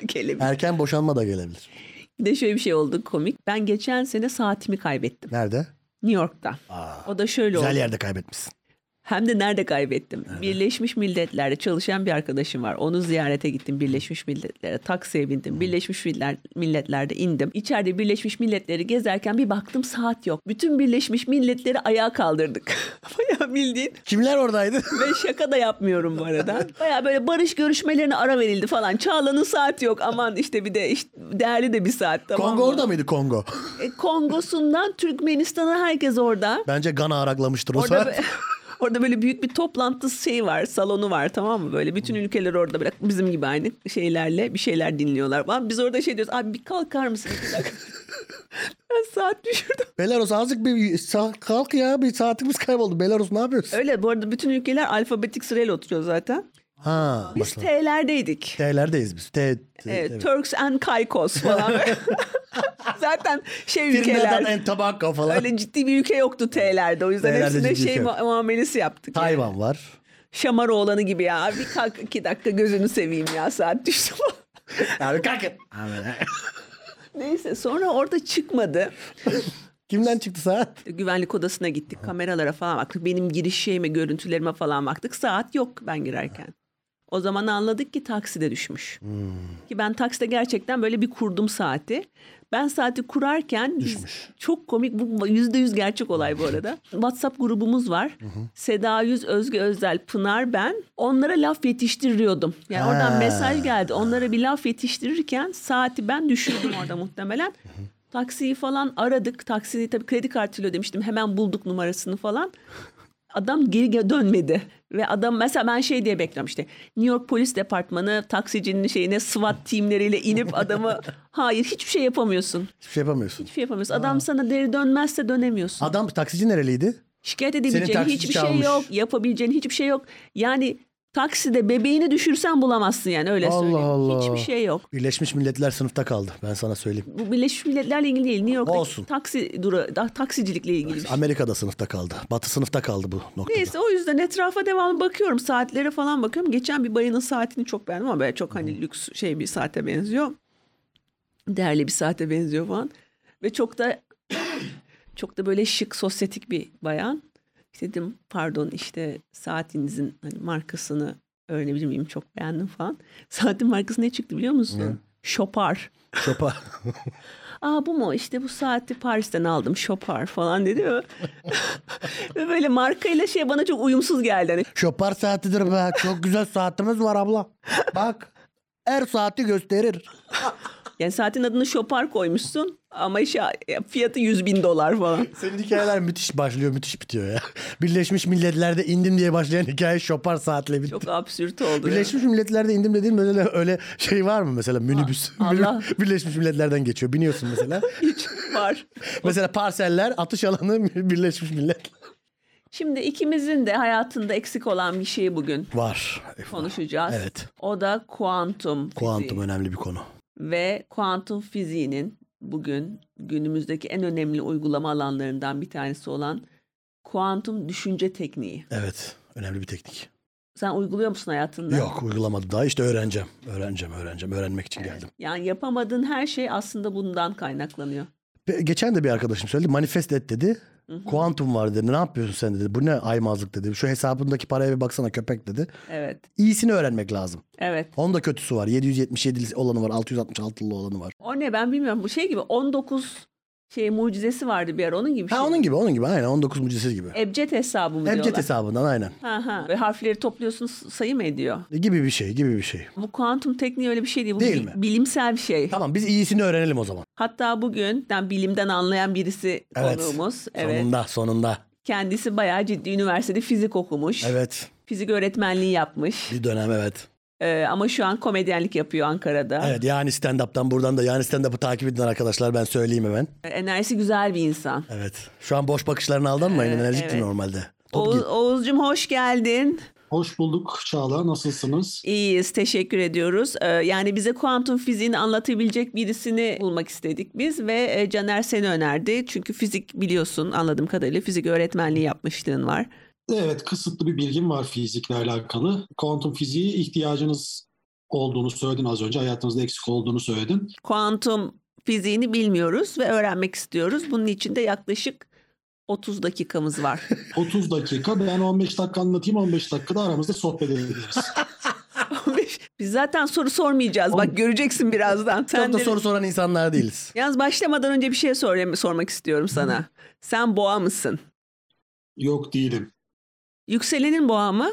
Speaker 2: Gelebilir.
Speaker 1: Erken boşanma da gelebilir.
Speaker 2: Bir de şöyle bir şey oldu komik. Ben geçen sene saatimi kaybettim.
Speaker 1: Nerede?
Speaker 2: New York'ta. o da şöyle oldu.
Speaker 1: Güzel yerde kaybetmişsin.
Speaker 2: Hem de nerede kaybettim? Birleşmiş Milletler'de çalışan bir arkadaşım var. Onu ziyarete gittim Birleşmiş Milletler'e. Taksiye bindim. Birleşmiş Miller- Milletler'de indim. İçeride Birleşmiş Milletler'i gezerken bir baktım saat yok. Bütün Birleşmiş Milletler'i ayağa kaldırdık. Bayağı bildiğin.
Speaker 1: Kimler oradaydı?
Speaker 2: Ve şaka da yapmıyorum bu arada. Bayağı böyle barış görüşmelerine ara verildi falan. Çağla'nın saati yok. Aman işte bir de işte değerli de bir saat. Tamam
Speaker 1: Kongo
Speaker 2: mı?
Speaker 1: orada mıydı Kongo?
Speaker 2: E, Kongo'sundan Türkmenistan'a herkes orada.
Speaker 1: Bence Gana araklamıştır o
Speaker 2: Orada
Speaker 1: saat.
Speaker 2: bö- orada böyle büyük bir toplantı şeyi var, salonu var tamam mı? Böyle bütün ülkeler orada böyle bizim gibi aynı şeylerle bir şeyler dinliyorlar. Falan. Biz orada şey diyoruz. Abi bir kalkar mısın? İki dakika. ben saat düşürdüm.
Speaker 1: Belarus azıcık bir sa- kalk ya bir saatimiz kayboldu. Belarus ne yapıyorsun?
Speaker 2: Öyle bu arada bütün ülkeler alfabetik sırayla oturuyor zaten.
Speaker 1: Ha.
Speaker 2: Biz T'lerdeydik.
Speaker 1: T'lerdeyiz biz. T, T,
Speaker 2: Evet,
Speaker 1: evet.
Speaker 2: Turks and Caicos falan. zaten şey
Speaker 1: Trinidad
Speaker 2: ülkeler.
Speaker 1: and Tobago falan.
Speaker 2: Öyle ciddi bir ülke yoktu T'lerde. O yüzden
Speaker 1: T'lerde
Speaker 2: hepsine
Speaker 1: ciddi
Speaker 2: şey
Speaker 1: ülke yok.
Speaker 2: mu- muamelesi yaptık. yani.
Speaker 1: Tayvan var.
Speaker 2: Şamaroğlan'ı gibi ya. Bir kalk iki dakika gözünü seveyim ya saat düştü.
Speaker 1: Abi kalkın. Abi,
Speaker 2: Neyse sonra orada çıkmadı.
Speaker 1: Kimden çıktı saat?
Speaker 2: Güvenlik odasına gittik kameralara falan baktık. Benim giriş şeyime görüntülerime falan baktık. Saat yok ben girerken. O zaman anladık ki takside düşmüş.
Speaker 1: Hmm.
Speaker 2: Ki ben takside gerçekten böyle bir kurdum saati. Ben saati kurarken biz-
Speaker 1: Düşmüş.
Speaker 2: çok komik bu yüzde yüz gerçek olay bu arada. WhatsApp grubumuz var. Seda Yüz, Özge Özel, Pınar ben. Onlara laf yetiştiriyordum. Yani oradan
Speaker 1: Ha.
Speaker 2: mesaj geldi. Onlara bir laf yetiştirirken saati ben düşürdüm orada muhtemelen. Taksiyi falan aradık. Taksiyi tabii kredi kartıyla ödemiştim. Hemen bulduk numarasını falan. Adam geri ge- dönmedi. Ve adam mesela ben şey diye bekliyorum işte New York Polis Departmanı taksicinin şeyine SWAT timleriyle inip adamı hayır hiçbir şey yapamıyorsun.
Speaker 1: Hiçbir şey yapamıyorsun.
Speaker 2: Hiçbir şey yapamıyorsun. Adam sana geri dönmezse dönemiyorsun.
Speaker 1: Adam taksici nereliydi?
Speaker 2: Şikayet
Speaker 1: Senin
Speaker 2: edebileceğin
Speaker 1: taksici
Speaker 2: hiçbir şey
Speaker 1: çalmış.
Speaker 2: yok. Yapabileceğin hiçbir şey yok. Yani takside bebeğini düşürsen bulamazsın yani öyle
Speaker 1: Allah
Speaker 2: söyleyeyim.
Speaker 1: Allah.
Speaker 2: Hiçbir şey yok.
Speaker 1: Birleşmiş Milletler sınıfta kaldı. Ben sana söyleyeyim.
Speaker 2: Bu Birleşmiş Milletler'le ilgili değil. New York'taki
Speaker 1: Olsun.
Speaker 2: taksi duru, da- taksicilikle ilgili bir şey.
Speaker 1: Amerika'da sınıfta kaldı. Batı sınıfta kaldı bu noktada.
Speaker 2: Neyse o yüzden etrafa devamlı bakıyorum. Saatlere falan bakıyorum. Geçen bir bayanın saatini çok beğendim ama böyle çok hani lüks şey bir saate benziyor. Değerli bir saate benziyor falan. Ve çok da çok da böyle şık sosyetik bir bayan. İşte dedim pardon işte saatinizin hani markasını öğrenebilir miyim çok beğendim falan. Saatin markası ne çıktı biliyor musun? Şopar.
Speaker 1: Şopa.
Speaker 2: Aa bu mu? İşte bu saati Paris'ten aldım. Şopar falan dedi mi? Ve böyle markayla şey bana çok uyumsuz geldi. Hani
Speaker 1: Şopar saatidir be. Çok güzel saatimiz var abla. Bak. Her saati gösterir.
Speaker 2: Yani saatin adını şopar koymuşsun ama işe, ya fiyatı 100 bin dolar falan.
Speaker 1: Senin hikayeler müthiş başlıyor, müthiş bitiyor ya. Birleşmiş Milletler'de indim diye başlayan hikaye şopar saatle bitti.
Speaker 2: Çok absürt oldu. ya.
Speaker 1: Birleşmiş Milletler'de indim dediğin böyle öyle şey var mı mesela minibüs?
Speaker 2: Allah.
Speaker 1: Birleşmiş Milletler'den geçiyor. Biniyorsun mesela.
Speaker 2: Hiç var.
Speaker 1: mesela parseller atış alanı Birleşmiş Milletler.
Speaker 2: Şimdi ikimizin de hayatında eksik olan bir şeyi bugün
Speaker 1: Var.
Speaker 2: konuşacağız.
Speaker 1: Evet.
Speaker 2: O da kuantum. fiziği.
Speaker 1: Kuantum önemli bir konu.
Speaker 2: Ve kuantum fiziğinin bugün günümüzdeki en önemli uygulama alanlarından bir tanesi olan kuantum düşünce tekniği.
Speaker 1: Evet. Önemli bir teknik.
Speaker 2: Sen uyguluyor musun hayatında?
Speaker 1: Yok uygulamadım daha işte öğreneceğim. Öğreneceğim öğreneceğim. Öğrenmek için geldim.
Speaker 2: Yani yapamadığın her şey aslında bundan kaynaklanıyor.
Speaker 1: Ve Geçen de bir arkadaşım söyledi manifest et dedi. Kuantum var dedi. Ne yapıyorsun sen dedi. Bu ne aymazlık dedi. Şu hesabındaki paraya bir baksana köpek dedi.
Speaker 2: Evet,
Speaker 1: İyisini öğrenmek lazım.
Speaker 2: evet.
Speaker 1: Onun da kötüsü var. 777'li olanı var. 666'lı olanı var.
Speaker 2: O ne ben bilmiyorum. Bu şey gibi 19 şey mucizesi vardı bir ara onun gibi. bir
Speaker 1: Ha
Speaker 2: şey.
Speaker 1: onun gibi onun gibi aynen 19 mucizesi gibi.
Speaker 2: Ebced hesabı mı
Speaker 1: Ebced
Speaker 2: diyorlar?
Speaker 1: hesabından aynen.
Speaker 2: Ha ha. Ve harfleri topluyorsun s- sayı mı ediyor?
Speaker 1: E, Gibi bir şey gibi bir şey.
Speaker 2: Bu kuantum tekniği öyle bir şey değil. Bu
Speaker 1: Değil
Speaker 2: bi-
Speaker 1: mi?
Speaker 2: bilimsel bir şey.
Speaker 1: Tamam biz iyisini öğrenelim o zaman.
Speaker 2: Hatta bugün yani bilimden anlayan birisi
Speaker 1: Evet.
Speaker 2: konuğumuz. Evet.
Speaker 1: Sonunda sonunda.
Speaker 2: Kendisi bayağı ciddi üniversitede fizik okumuş.
Speaker 1: Evet
Speaker 2: Fizik öğretmenliği yapmış.
Speaker 1: bir dönem evet.
Speaker 2: Ee, ama şu an komedyenlik yapıyor Ankara'da.
Speaker 1: Evet yani stand-up'tan buradan da yani stand-up'ı takip edin arkadaşlar ben söyleyeyim hemen.
Speaker 2: Enerjisi güzel bir insan.
Speaker 1: Evet. Şu an boş bakışlarına aldanmayın.
Speaker 2: Evet,
Speaker 1: Enerjikti
Speaker 2: evet.
Speaker 1: normalde. Top
Speaker 2: Oğuz,
Speaker 1: git.
Speaker 2: Oğuzcum hoş geldin.
Speaker 3: Hoş bulduk Çağla. Nasılsınız?
Speaker 2: İyiyiz, teşekkür ediyoruz. Ee, Yani bize kuantum fiziğini anlatabilecek birisini bulmak istedik biz ve e, Caner seni önerdi. Çünkü fizik biliyorsun anladığım kadarıyla fizik öğretmenliği yapmışlığın var.
Speaker 3: Evet, kısıtlı bir bilgim var fizikle alakalı. Kuantum fiziği ihtiyacınız olduğunu söyledin az önce. Hayatınızda eksik olduğunu söyledin.
Speaker 2: Kuantum fiziğini bilmiyoruz ve öğrenmek istiyoruz. Bunun için de yaklaşık 30 dakikamız var.
Speaker 3: 30 dakika, ben 15 dakika anlatayım. 15 dakikada aramızda sohbet ederiz.
Speaker 2: Biz zaten soru sormayacağız. Bak göreceksin birazdan.
Speaker 1: Çok
Speaker 2: Sen
Speaker 1: da
Speaker 2: de-
Speaker 1: soru soran insanlar değiliz.
Speaker 2: Yalnız başlamadan önce bir şey sor- sormak istiyorum sana. Sen boğa mısın?
Speaker 3: Yok değilim.
Speaker 2: Yükselenin boğa mı?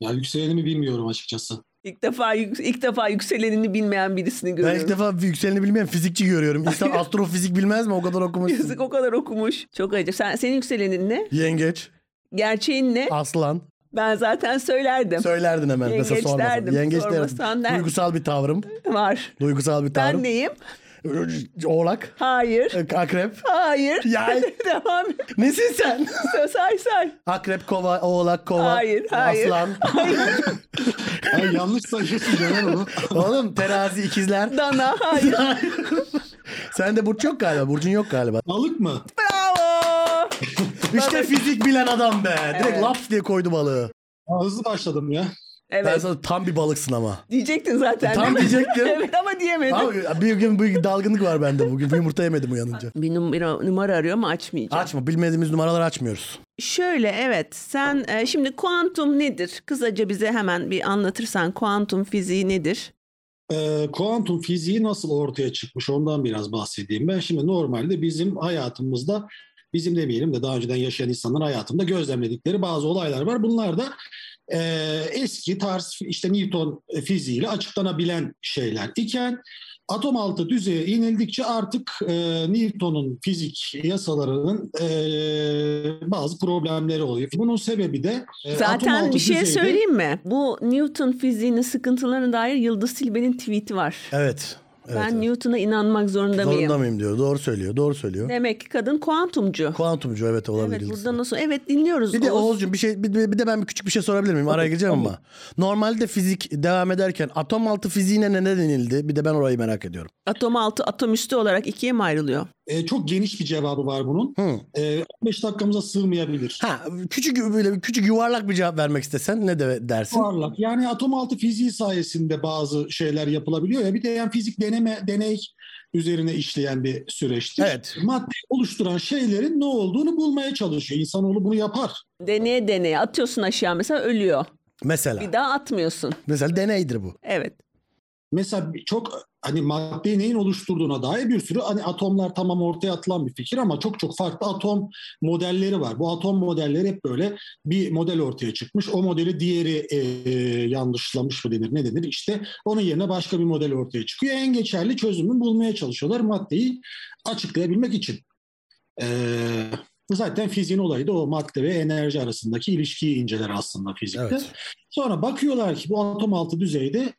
Speaker 3: Ya yükselenimi bilmiyorum açıkçası.
Speaker 2: İlk defa yük- ilk defa yükselenini bilmeyen birisini
Speaker 1: Ben
Speaker 2: görüyorum.
Speaker 1: ilk defa yükseleni bilmeyen fizikçi görüyorum. İnsan astrofizik bilmez mi? O kadar okumuşsun.
Speaker 2: Yazık o kadar okumuş. Çok acı. Sen senin yükselenin ne?
Speaker 1: Yengeç,
Speaker 2: Gerçeğin ne?
Speaker 1: aslan.
Speaker 2: Ben zaten söylerdim.
Speaker 1: Söylerdin hemen.
Speaker 2: Yengeç
Speaker 1: Mesela sormasan.
Speaker 2: derdim,
Speaker 1: Yengeç
Speaker 2: sormasan
Speaker 1: derdim.
Speaker 2: derdim.
Speaker 1: Duygusal bir tavrım.
Speaker 2: Var.
Speaker 1: Duygusal bir
Speaker 2: Ben
Speaker 1: tavrım.
Speaker 2: neyim?
Speaker 1: Oğlak, e,
Speaker 2: Hayır.
Speaker 1: akrep.
Speaker 2: Hayır.
Speaker 1: Ya-
Speaker 2: Devam et.
Speaker 1: Nesin sen?
Speaker 2: Say say.
Speaker 1: Akrep kova, oğlak kova.
Speaker 2: Hayır, hayır.
Speaker 1: Aslan.
Speaker 3: Ya yanlış sayıyorsun Caner onu.
Speaker 1: Oğlum terazi ikizler.
Speaker 2: Dana. Hayır.
Speaker 1: Sen de burç yok galiba. Burcun yok galiba.
Speaker 3: Balık mı?
Speaker 2: Bravo.
Speaker 1: İşte fizik bilen adam be. Direkt
Speaker 2: Evet.
Speaker 1: laps diye koydu balığı.
Speaker 3: Ya Hızlı başladım ya.
Speaker 1: Ben
Speaker 2: Evet.
Speaker 1: sana tam bir balıksın ama.
Speaker 2: Diyecektin zaten.
Speaker 1: Tam
Speaker 2: değil mi?
Speaker 1: diyecektim.
Speaker 2: evet ama diyemedim.
Speaker 1: Abi bir gün bir dalgınlık var bende bugün. Bir yumurta yemedim uyanınca.
Speaker 2: Bir numara, numara arıyor ama açmayacağım.
Speaker 1: Açma. Bilmediğimiz numaraları açmıyoruz.
Speaker 2: Şöyle evet sen e, şimdi kuantum nedir? Kısaca bize hemen bir anlatırsan kuantum fiziği nedir?
Speaker 3: Ee, kuantum fiziği nasıl ortaya çıkmış ondan biraz bahsedeyim. Ben şimdi normalde bizim hayatımızda bizim demeyelim de daha önceden yaşayan insanların hayatında gözlemledikleri bazı olaylar var. Bunlar da e, eski tarz işte Newton e, fiziğiyle açıklanabilen şeyler iken atom altı düzeye inildikçe artık e, Newton'un fizik yasalarının e, bazı problemleri oluyor. Bunun sebebi de e, atom
Speaker 2: Zaten
Speaker 3: altı
Speaker 2: bir şey
Speaker 3: düzeyde-
Speaker 2: söyleyeyim mi? Bu Newton fiziğinin sıkıntılarına dair Yıldız Tilbe'nin tweet'i var.
Speaker 1: Evet. evet,
Speaker 2: ben
Speaker 1: evet.
Speaker 2: Newton'a inanmak zorunda,
Speaker 1: Zorunda
Speaker 2: mıyım?
Speaker 1: mıyım diyor. Doğru söylüyor. Doğru söylüyor.
Speaker 2: Demek ki kadın kuantumcu.
Speaker 1: Kuantumcu evet olabilir.
Speaker 2: evet
Speaker 1: yıldız.
Speaker 2: burada nasıl? Evet dinliyoruz.
Speaker 1: Bir de
Speaker 2: Oğuz.
Speaker 1: Oğuzcuğum bir şey bir, bir de ben bir küçük bir şey sorabilir miyim? Araya gireceğim ama. Normalde fizik devam ederken atom altı fiziğine ne denildi? Bir de ben orayı merak ediyorum.
Speaker 2: Atom altı atom üstü olarak ikiye mi ayrılıyor?
Speaker 3: E, çok geniş bir cevabı var bunun.
Speaker 1: Hı.
Speaker 3: E, 15 dakikamıza sığmayabilir.
Speaker 1: Ha küçük böyle bir küçük yuvarlak bir cevap vermek istesen ne de dersin?
Speaker 3: Varlık. Yani atom altı fiziği sayesinde bazı şeyler yapılabiliyor ya. Bir de yani fizik deneme, deney üzerine işleyen bir süreçtir.
Speaker 1: Evet.
Speaker 3: Madde oluşturan şeylerin ne olduğunu bulmaya çalışıyor. İnsanoğlu bunu yapar.
Speaker 2: Deneye deneye atıyorsun aşağı mesela ölüyor.
Speaker 1: Mesela.
Speaker 2: Bir daha atmıyorsun.
Speaker 1: Mesela deneydir bu.
Speaker 2: Evet.
Speaker 3: Mesela çok hani maddeyi neyin oluşturduğuna dair bir sürü hani atomlar tamam ortaya atılan bir fikir ama çok çok farklı atom modelleri var. Bu atom modelleri hep böyle bir model ortaya çıkmış. O modeli diğeri e, yanlışlamış mı denir ne denir işte onun yerine başka bir model ortaya çıkıyor. En geçerli çözümü bulmaya çalışıyorlar maddeyi açıklayabilmek için. E, zaten fiziğin olayı da o madde ve enerji arasındaki ilişkiyi inceler aslında fizikte.
Speaker 1: Evet.
Speaker 3: Sonra bakıyorlar ki bu atom altı düzeyde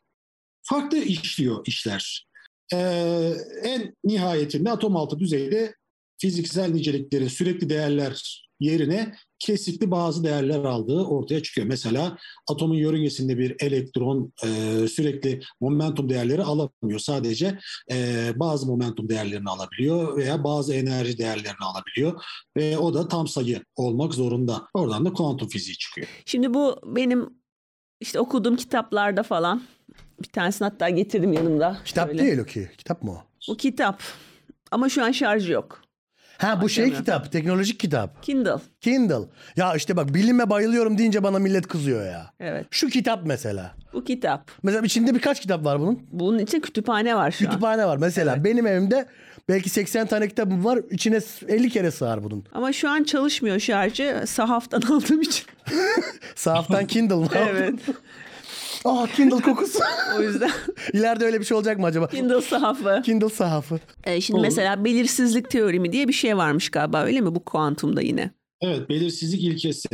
Speaker 3: farklı işliyor işler. Ee, en nihayetinde atom altı düzeyde fiziksel niceliklerin sürekli değerler yerine kesikli bazı değerler aldığı ortaya çıkıyor. Mesela atomun yörüngesinde bir elektron e, sürekli momentum değerleri alamıyor. Sadece e, bazı momentum değerlerini alabiliyor veya bazı enerji değerlerini alabiliyor. Ve o da tam sayı olmak zorunda. Oradan da kuantum fiziği çıkıyor.
Speaker 2: Şimdi bu benim işte okuduğum kitaplarda falan bir tanesini hatta getirdim yanımda.
Speaker 1: Kitap
Speaker 2: Şöyle.
Speaker 1: değil o ki. Kitap mı o?
Speaker 2: Bu kitap. Ama şu an şarjı yok.
Speaker 1: Ha bu şey
Speaker 2: Aynen.
Speaker 1: kitap. Teknolojik kitap.
Speaker 2: Kindle.
Speaker 1: Kindle. Ya işte bak bilime bayılıyorum deyince bana millet kızıyor ya.
Speaker 2: Evet.
Speaker 1: Şu kitap mesela.
Speaker 2: Bu kitap.
Speaker 1: Mesela içinde birkaç kitap var bunun.
Speaker 2: Bunun için kütüphane var şu an.
Speaker 1: Kütüphane var. Mesela benim evimde belki 80 tane kitabım var. İçine 50 kere sığar bunun.
Speaker 2: Ama şu an çalışmıyor şarjı. Sahaftan aldığım için.
Speaker 1: Sahaftan Kindle mı?
Speaker 2: evet.
Speaker 1: Ah Kindle kokusu.
Speaker 2: O yüzden
Speaker 1: İleride öyle bir şey olacak mı acaba?
Speaker 2: Kindle sahafı.
Speaker 1: Kindle sahafı.
Speaker 2: Ee, şimdi
Speaker 3: Olur.
Speaker 2: mesela belirsizlik teoremi diye bir şey varmış galiba öyle mi bu kuantumda yine?
Speaker 3: Evet, belirsizlik ilkesi.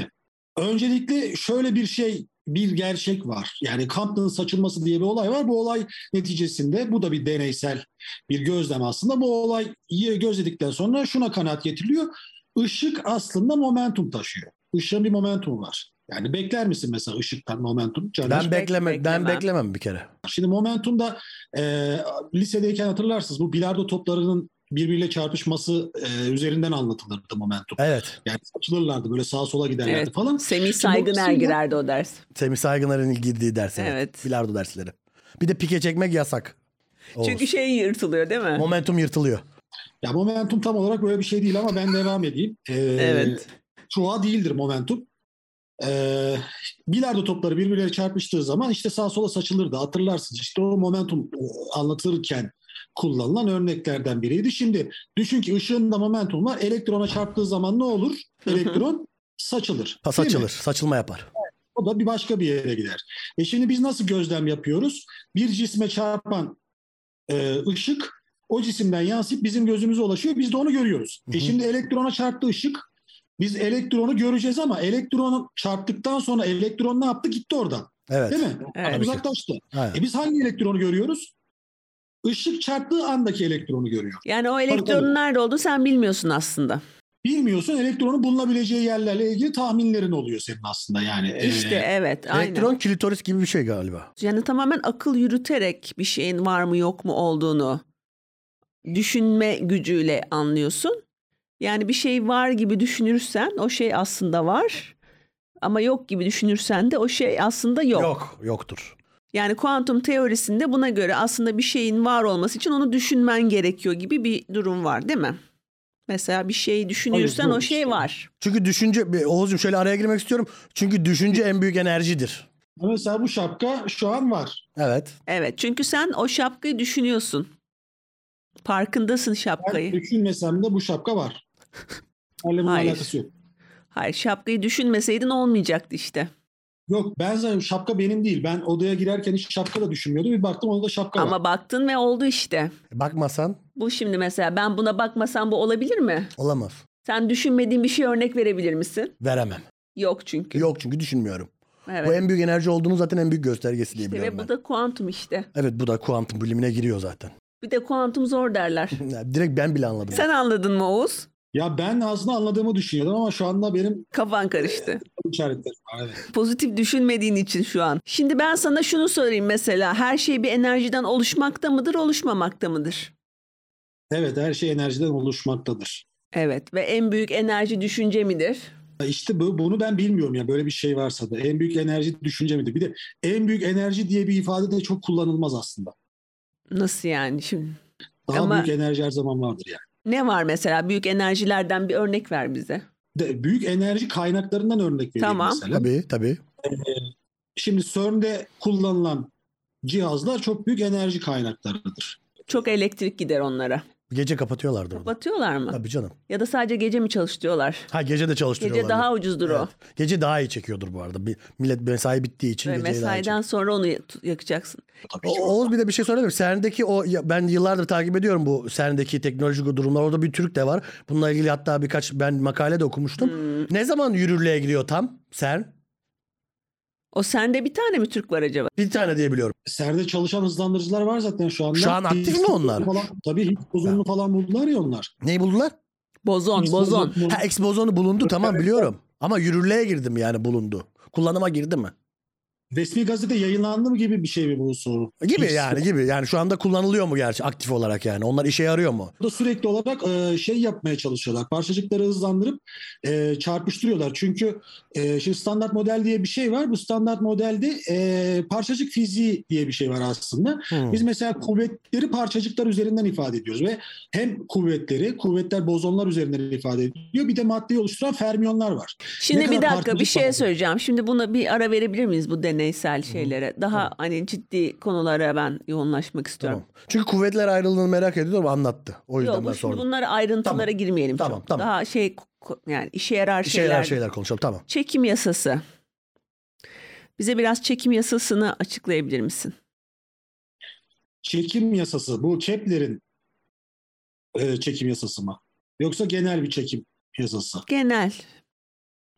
Speaker 3: Öncelikle şöyle bir şey, bir gerçek var. Yani Compton'ın saçılması diye bir olay var. Bu olay neticesinde, bu da bir deneysel bir gözlem aslında. Bu olayı gözledikten sonra şuna kanaat getiriliyor. Işık aslında momentum taşıyor. Işığın bir momentumu var. Yani bekler misin mesela ışıktan momentum? Caner?
Speaker 1: Ben bekleme, ben
Speaker 2: beklemem.
Speaker 1: beklemem bir kere.
Speaker 3: Şimdi momentumda e, lisedeyken hatırlarsınız bu bilardo toplarının birbiriyle çarpışması e, üzerinden anlatılırdı momentum.
Speaker 1: Evet.
Speaker 3: Yani saçılırlardı böyle sağa sola giderlerdi
Speaker 2: Evet.
Speaker 3: falan.
Speaker 2: Semih
Speaker 3: Şimdi bu
Speaker 2: Saygın
Speaker 3: kısımda-
Speaker 2: girerdi o ders.
Speaker 1: Semih Saygıner'in girdiği ders. Evet.
Speaker 2: Evet.
Speaker 1: Bilardo dersleri. Bir de pike çekmek yasak. Oğuz.
Speaker 2: Çünkü şey yırtılıyor değil mi?
Speaker 1: Momentum yırtılıyor.
Speaker 3: Ya momentum tam olarak böyle bir şey değil ama ben devam edeyim. Ee,
Speaker 2: Evet.
Speaker 3: Çuha değildir momentum. Ee, bilardo topları birbirleriyle çarpıştığı zaman işte sağa sola saçılırdı hatırlarsınız. İşte o momentum e, anlatılırken kullanılan örneklerden biriydi. Şimdi düşün ki ışığın da momentum var. Elektrona çarptığı zaman ne olur? Elektron saçılır.
Speaker 1: Ha,
Speaker 3: değil mi?
Speaker 1: saçılır. Saçılma yapar.
Speaker 3: O da bir başka bir yere gider. E şimdi biz nasıl gözlem yapıyoruz? Bir cisme çarpan e, ışık o cisimden yansıyıp bizim gözümüze ulaşıyor. Biz de onu görüyoruz.
Speaker 1: Hı hı.
Speaker 3: E şimdi elektrona çarptı ışık. Biz elektronu göreceğiz ama elektronu çarptıktan sonra elektron ne yaptı? Gitti oradan.
Speaker 1: Evet.
Speaker 3: Değil mi?
Speaker 2: Evet.
Speaker 1: Tabii ki.
Speaker 3: Uzaklaştı.
Speaker 1: Aynen.
Speaker 3: E biz hangi elektronu görüyoruz? Işık çarptığı andaki elektronu görüyor.
Speaker 2: Yani o
Speaker 3: Tabii.
Speaker 2: elektronun nerede olduğunu sen bilmiyorsun aslında.
Speaker 3: Bilmiyorsun elektronun bulunabileceği yerlerle ilgili tahminlerin oluyor senin aslında yani. E,
Speaker 2: İşte evet aynen.
Speaker 1: Elektron klitoris gibi bir şey galiba.
Speaker 2: Yani tamamen akıl yürüterek bir şeyin var mı yok mu olduğunu düşünme gücüyle anlıyorsun. Yani bir şey var gibi düşünürsen o şey aslında var. Ama yok gibi düşünürsen de o şey aslında yok.
Speaker 1: Yoktur.
Speaker 2: Yani kuantum teorisinde buna göre aslında bir şeyin var olması için onu düşünmen gerekiyor gibi bir durum var değil mi? Mesela bir şeyi düşünürsen
Speaker 3: yok
Speaker 2: o şey
Speaker 3: işte.
Speaker 2: var.
Speaker 1: Çünkü düşünce, bir- Oğuz'cum şöyle araya girmek istiyorum. Çünkü düşünce en büyük enerjidir.
Speaker 3: E, Mesela bu şapka şu an var.
Speaker 1: Evet.
Speaker 2: Evet çünkü sen o şapkayı düşünüyorsun. Farkındasın
Speaker 3: Ben
Speaker 2: şapkayı.
Speaker 3: düşünmesem de bu şapka var. Hayır.
Speaker 2: Hayır.
Speaker 3: alakası yok.
Speaker 2: Hayır şapkayı düşünmeseydin olmayacaktı işte.
Speaker 3: Yok ben zaten şapka benim değil. Ben odaya girerken hiç şapka da düşünmüyordum. Bir baktım onda şapka var.
Speaker 2: Ama baktın ve oldu işte.
Speaker 1: Bakmasan
Speaker 2: Bu şimdi mesela ben buna bakmasam bu olabilir mi?
Speaker 1: olamaz.
Speaker 2: Sen düşünmediğin bir şey örnek verebilir misin?
Speaker 1: Veremem.
Speaker 2: Yok çünkü.
Speaker 1: Yok çünkü düşünmüyorum.
Speaker 2: Evet.
Speaker 1: Bu en büyük enerji olduğunun zaten en büyük göstergesi diye
Speaker 2: İşte
Speaker 1: biliyorum
Speaker 2: ve bu
Speaker 1: ben.
Speaker 2: da kuantum işte.
Speaker 1: Evet bu da kuantum bilimine giriyor zaten.
Speaker 2: Bir de kuantum zor derler.
Speaker 1: Ya, Direkt ben bile anladım.
Speaker 2: Sen anladın mı Oğuz?
Speaker 3: Ya ben aslında anladığımı düşünüyordum ama şu anda benim
Speaker 2: Kafan karıştı.
Speaker 3: işaretlerim var. Evet.
Speaker 2: Pozitif düşünmediğin için şu an. Şimdi ben sana şunu sorayım mesela. Her şey bir enerjiden oluşmakta mıdır, oluşmamakta mıdır?
Speaker 3: evet her şey enerjiden oluşmaktadır.
Speaker 2: Evet ve en büyük enerji düşünce midir?
Speaker 3: Ya İşte bu, bunu ben bilmiyorum ya böyle bir şey varsa da. En büyük enerji düşünce midir? Bir de en büyük enerji diye bir ifade de çok kullanılmaz aslında.
Speaker 2: Nasıl yani şimdi?
Speaker 3: Daha
Speaker 2: Ama-
Speaker 3: büyük enerji her zaman vardır yani.
Speaker 2: Ne var mesela büyük enerjilerden bir örnek ver bize.
Speaker 3: De, büyük enerji kaynaklarından örnek vereyim
Speaker 2: Tamam.
Speaker 3: mesela.
Speaker 1: Tabii tabii.
Speaker 3: Şimdi CERN'de kullanılan cihazlar çok büyük enerji kaynaklarıdır.
Speaker 2: Çok elektrik gider onlara.
Speaker 1: Gece kapatıyorlardır onu.
Speaker 2: Batıyorlar mı?
Speaker 1: Tabii canım.
Speaker 2: Ya da sadece gece mi çalıştırıyorlar?
Speaker 1: Ha gece de çalıştırıyorlar.
Speaker 2: Gece daha ucuzdur o.
Speaker 1: Gece daha iyi çekiyordur bu arada. Bir, millet mesai bittiği için
Speaker 2: Ve
Speaker 1: geceyi daha iyi çekiyor.
Speaker 2: mesaiden sonra onu ya- tu- yakacaksın.
Speaker 3: Tabii ki.
Speaker 1: O- Oğuz bir de bir şey söyleyebilir miyim? CERN'deki o ya ben yıllardır takip ediyorum bu CERN'deki teknolojik durumlar. Orada bir Türk de var. Bununla ilgili hatta birkaç ben makale de okumuştum.
Speaker 2: Hmm.
Speaker 1: Ne zaman yürürlüğe giriyor tam CERN?
Speaker 2: O sende bir tane mi Türk var acaba?
Speaker 1: Bir tane diye biliyorum.
Speaker 3: Serde çalışan hızlandırıcılar var zaten şu anda.
Speaker 1: Şu an aktif mi
Speaker 3: Higgs
Speaker 1: onlar?
Speaker 3: Falan, tabii Higgs bozonunu falan buldular ya onlar.
Speaker 1: Neyi buldular?
Speaker 2: Bozon,
Speaker 3: Higgs
Speaker 2: bozon.
Speaker 3: bozonu-
Speaker 1: Ha e- X bozonu bulundu tamam biliyorum. Ama yürürlüğe girdim yani bulundu. Kullanıma girdi mi?
Speaker 3: Resmi gazete yayınlandı mı gibi bir şey mi bu soru?
Speaker 1: Gibi
Speaker 3: Higgs
Speaker 1: yani gibi. Yani şu anda kullanılıyor mu gerçi aktif olarak yani? Onlar işe yarıyor mu?
Speaker 3: da sürekli olarak e, şey yapmaya çalışıyorlar. Parçacıkları hızlandırıp e, çarpıştırıyorlar. Çünkü e, şimdi standart model diye bir şey var. Bu standart modelde e, parçacık fiziği diye bir şey var aslında.
Speaker 1: Hmm.
Speaker 3: Biz mesela kuvvetleri parçacıklar üzerinden ifade ediyoruz ve hem kuvvetleri, kuvvetler bozonlar üzerinden ifade ediyor. Bir de maddeyi oluşturan fermiyonlar var. Ne
Speaker 2: Şimdi bir
Speaker 3: kadar
Speaker 2: dakika bir
Speaker 3: parçacık
Speaker 2: şey
Speaker 3: var?
Speaker 2: söyleyeceğim. Şimdi buna bir ara verebilir miyiz bu deneysel şeylere? Daha hani ciddi konulara ben yoğunlaşmak istiyorum.
Speaker 1: Tamam. Çünkü kuvvetler ayrılığını merak ediyorum anlattı. O yüzden
Speaker 2: Yok
Speaker 1: ben
Speaker 2: bu- şimdi
Speaker 1: sordum.
Speaker 2: bunlara ayrıntılara
Speaker 1: Tamam.
Speaker 2: girmeyelim.
Speaker 1: Tamam,
Speaker 2: çok.
Speaker 1: tamam.
Speaker 2: Daha şey ko- yani işe yarar
Speaker 1: İşe
Speaker 2: şeyler.
Speaker 1: yarar şeyler konuşalım tamam.
Speaker 2: Çekim yasası. Bize biraz çekim yasasını açıklayabilir misin?
Speaker 3: Çekim yasası bu Kepler'in e, çekim yasası mı? Yoksa genel bir çekim yasası.
Speaker 2: Genel.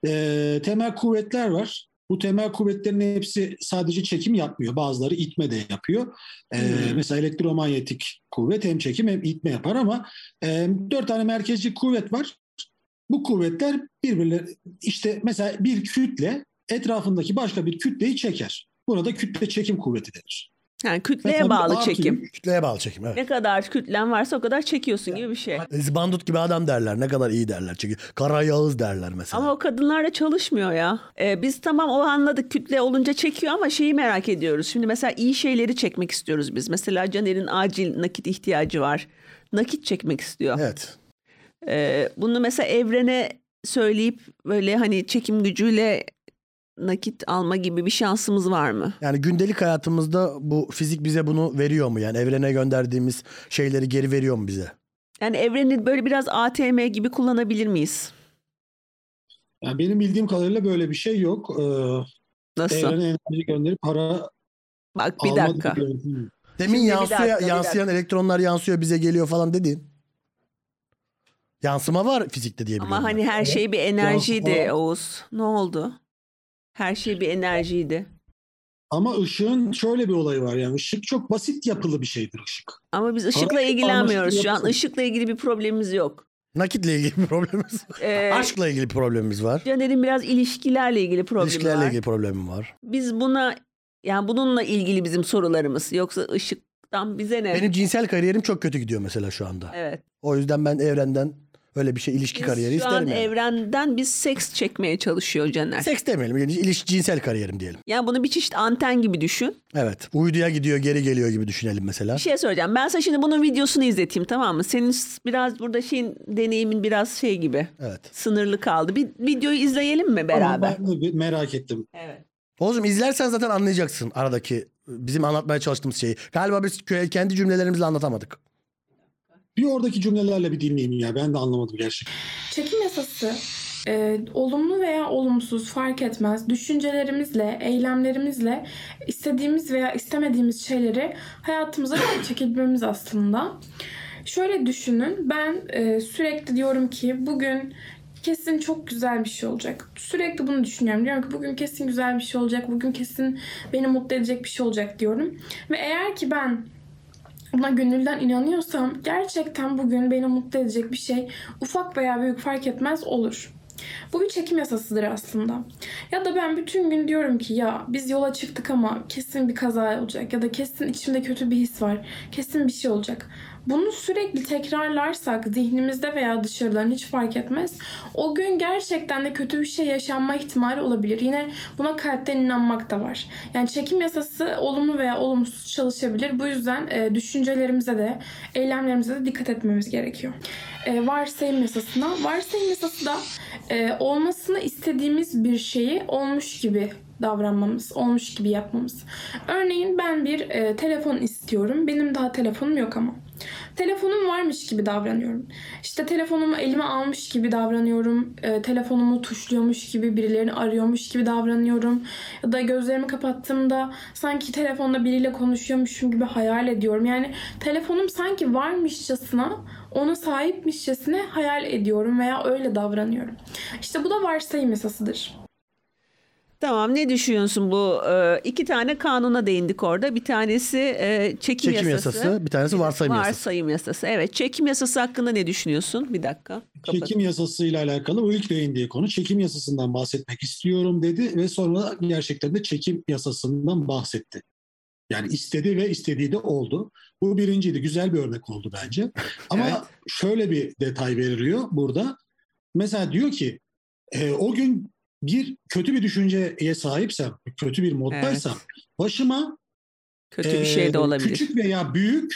Speaker 3: E, temel kuvvetler var. Bu temel kuvvetlerin hepsi sadece çekim yapmıyor. Bazıları itme de yapıyor. E,
Speaker 2: Hmm.
Speaker 3: Mesela elektromanyetik kuvvet hem çekim hem itme yapar ama e, dört tane merkezci kuvvet var. Bu kuvvetler birbirleri işte mesela bir kütle etrafındaki başka bir kütleyi çeker. Buna da kütle çekim kuvveti denir.
Speaker 2: Yani kütleye
Speaker 3: Mesela bir
Speaker 2: bağlı
Speaker 3: artı
Speaker 2: çekim.
Speaker 3: yük,
Speaker 1: Kütleye bağlı çekim evet.
Speaker 2: Ne kadar kütlen varsa o kadar çekiyorsun gibi bir şey.
Speaker 1: Zibandut E, gibi adam derler. Ne kadar iyi derler. Çünkü Kara Yağız derler mesela.
Speaker 2: Ama o kadınlar da çalışmıyor ya. Ee, biz tamam o anladık kütle olunca çekiyor ama şeyi merak ediyoruz. Şimdi mesela iyi şeyleri çekmek istiyoruz biz. Mesela Caner'in acil nakit ihtiyacı var. Nakit çekmek istiyor.
Speaker 1: Evet.
Speaker 2: Ee, bunu mesela evrene söyleyip böyle hani çekim gücüyle nakit alma gibi bir şansımız var mı?
Speaker 1: Yani gündelik hayatımızda bu fizik bize bunu veriyor mu? Yani evrene gönderdiğimiz şeyleri geri veriyor mu bize?
Speaker 2: Yani evreni böyle biraz ATM gibi kullanabilir miyiz?
Speaker 3: Yani benim bildiğim kadarıyla böyle bir şey yok. Ee,
Speaker 2: Nasıl?
Speaker 3: evrene enerji gönderip para
Speaker 2: Bak bir
Speaker 3: alma
Speaker 2: dakika.
Speaker 3: diye bir şey- yöntem yok.
Speaker 1: Demin
Speaker 2: Şimdi bir
Speaker 1: yansıya,
Speaker 2: dakika, bir
Speaker 1: yansıyan elektronlar yansıyor bize geliyor falan dedin. Yansıma var fizikte diye biliyorum.
Speaker 2: Ama hani
Speaker 1: ben.
Speaker 2: her şey bir enerjiydi
Speaker 3: Yansıma-
Speaker 2: Oğuz. Ne oldu? Her şey bir enerjiydi.
Speaker 3: Ama ışığın şöyle bir olayı var yani ışık çok basit yapılı bir şeydir ışık.
Speaker 2: Ama biz ışıkla
Speaker 3: Parayı
Speaker 2: ilgilenmiyoruz
Speaker 3: alması
Speaker 2: şu an.
Speaker 3: yapsın.
Speaker 2: Işıkla ilgili bir problemimiz yok.
Speaker 1: Nakitle ilgili bir problemimiz var.
Speaker 2: Ee,
Speaker 1: Aşkla ilgili bir problemimiz var.
Speaker 2: Caner'in biraz ilişkilerle ilgili problemi
Speaker 1: İlişkilerle
Speaker 2: var.
Speaker 1: ilgili problemim var.
Speaker 2: Biz buna yani bununla ilgili bizim sorularımız. Yoksa ışıktan bize ne?
Speaker 1: Benim cinsel kariyerim çok kötü gidiyor mesela şu anda.
Speaker 2: Evet.
Speaker 1: O yüzden ben evrenden öyle bir şey ilişki kariyeri
Speaker 2: biz şu an
Speaker 1: isterim. yani.
Speaker 2: evrenden biz seks çekmeye çalışıyor Caner.
Speaker 1: Seks demeyelim. Yani iliş, cinsel kariyerim diyelim.
Speaker 2: Yani bunu bir çeşit anten gibi düşün.
Speaker 1: Evet. Uyduya gidiyor geri geliyor gibi düşünelim mesela.
Speaker 2: Bir şey söyleyeceğim. Ben sana şimdi bunun videosunu izleteyim tamam mı? Senin biraz burada şeyin deneyimin biraz şey gibi.
Speaker 1: Evet.
Speaker 2: sınırlı kaldı. Bir videoyu izleyelim mi
Speaker 3: Ama
Speaker 2: beraber?
Speaker 3: Ben de bir merak ettim.
Speaker 2: Evet.
Speaker 1: Oğuzum izlersen zaten anlayacaksın aradaki bizim anlatmaya çalıştığımız şeyi. Galiba biz kö- kendi cümlelerimizle anlatamadık.
Speaker 3: Bir oradaki cümlelerle bir dinleyeyim ya ben de anlamadım gerçekten.
Speaker 4: Çekim yasası e, olumlu veya olumsuz fark etmez düşüncelerimizle, eylemlerimizle istediğimiz veya istemediğimiz şeyleri hayatımıza çekebilmemiz aslında. Şöyle düşünün ben e, sürekli diyorum ki bugün kesin çok güzel bir şey olacak. Sürekli bunu düşünüyorum. Diyorum ki bugün kesin güzel bir şey olacak. Bugün kesin beni mutlu edecek bir şey olacak diyorum. Ve eğer ki ben buna gönülden inanıyorsam gerçekten bugün beni mutlu edecek bir şey ufak veya büyük fark etmez olur. Bu bir çekim yasasıdır aslında. Ya da ben bütün gün diyorum ki ya biz yola çıktık ama kesin bir kaza olacak ya da kesin içimde kötü bir his var. Kesin bir şey olacak. Bunu sürekli tekrarlarsak zihnimizde veya dışarıdan hiç fark etmez. O gün gerçekten de kötü bir şey yaşanma ihtimali olabilir. Yine buna kalpten inanmak da var. Yani çekim yasası olumlu veya olumsuz çalışabilir. Bu yüzden e, düşüncelerimize de eylemlerimize de dikkat etmemiz gerekiyor. E, varsayım yasasına. Varsayım yasası da e, olmasını istediğimiz bir şeyi olmuş gibi davranmamız, olmuş gibi yapmamız. Örneğin ben bir e, telefon istiyorum. Benim daha telefonum yok ama. Telefonum varmış gibi davranıyorum. İşte telefonumu elime almış gibi davranıyorum. E, telefonumu tuşluyormuş gibi, birilerini arıyormuş gibi davranıyorum. Ya da gözlerimi kapattığımda sanki telefonda biriyle konuşuyormuşum gibi hayal ediyorum. Yani telefonum sanki varmışçasına, ona sahipmişçesine hayal ediyorum veya öyle davranıyorum. İşte bu da varsayım esasıdır.
Speaker 2: Tamam ne düşünüyorsun bu e, iki tane kanuna değindik orada. Bir tanesi e, çekim,
Speaker 1: Çekim
Speaker 2: yasası.
Speaker 1: yasası, bir tanesi varsayım yasası.
Speaker 2: Varsayım yasası. Evet çekim yasası hakkında ne düşünüyorsun? Bir dakika. kapat.
Speaker 3: Çekim yasasıyla alakalı bu ilk değindiği konu. Çekim yasasından bahsetmek istiyorum dedi ve sonra gerçekten de çekim yasasından bahsetti. Yani istedi ve istediği de oldu. Bu birinciydi. Güzel bir örnek oldu bence. Ama
Speaker 2: Evet.
Speaker 3: şöyle bir detay veriliyor burada. Mesela diyor ki e, o gün bir kötü bir düşünceye sahipsem, kötü bir moddaysam başıma
Speaker 2: Kötü bir
Speaker 3: Ee,
Speaker 2: şey de olabilir.
Speaker 3: Küçük veya büyük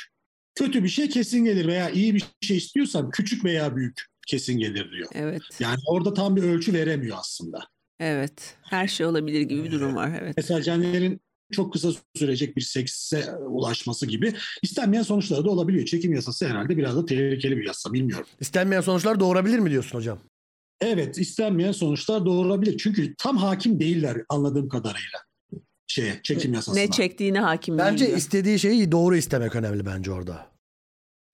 Speaker 3: kötü bir şey kesin gelir veya iyi bir şey istiyorsam küçük veya büyük kesin gelir diyor.
Speaker 2: Evet.
Speaker 3: Yani orada tam bir ölçü veremiyor aslında.
Speaker 2: Evet. Her şey olabilir gibi bir durum var. Evet.
Speaker 3: Mesela Caner'in çok kısa sürecek bir sekse ulaşması gibi istenmeyen sonuçları da olabiliyor. Çekim yasası herhalde biraz da tehlikeli bir yasa bilmiyorum.
Speaker 1: İstenmeyen sonuçlar doğurabilir mi diyorsun hocam?
Speaker 3: Evet istenmeyen sonuçlar doğurabilir. Çünkü tam hakim değiller anladığım kadarıyla şeye çekim yasasına.
Speaker 2: Ne çektiğini hakim
Speaker 1: Bence
Speaker 2: değil.
Speaker 1: istediği şeyi doğru istemek önemli bence orada.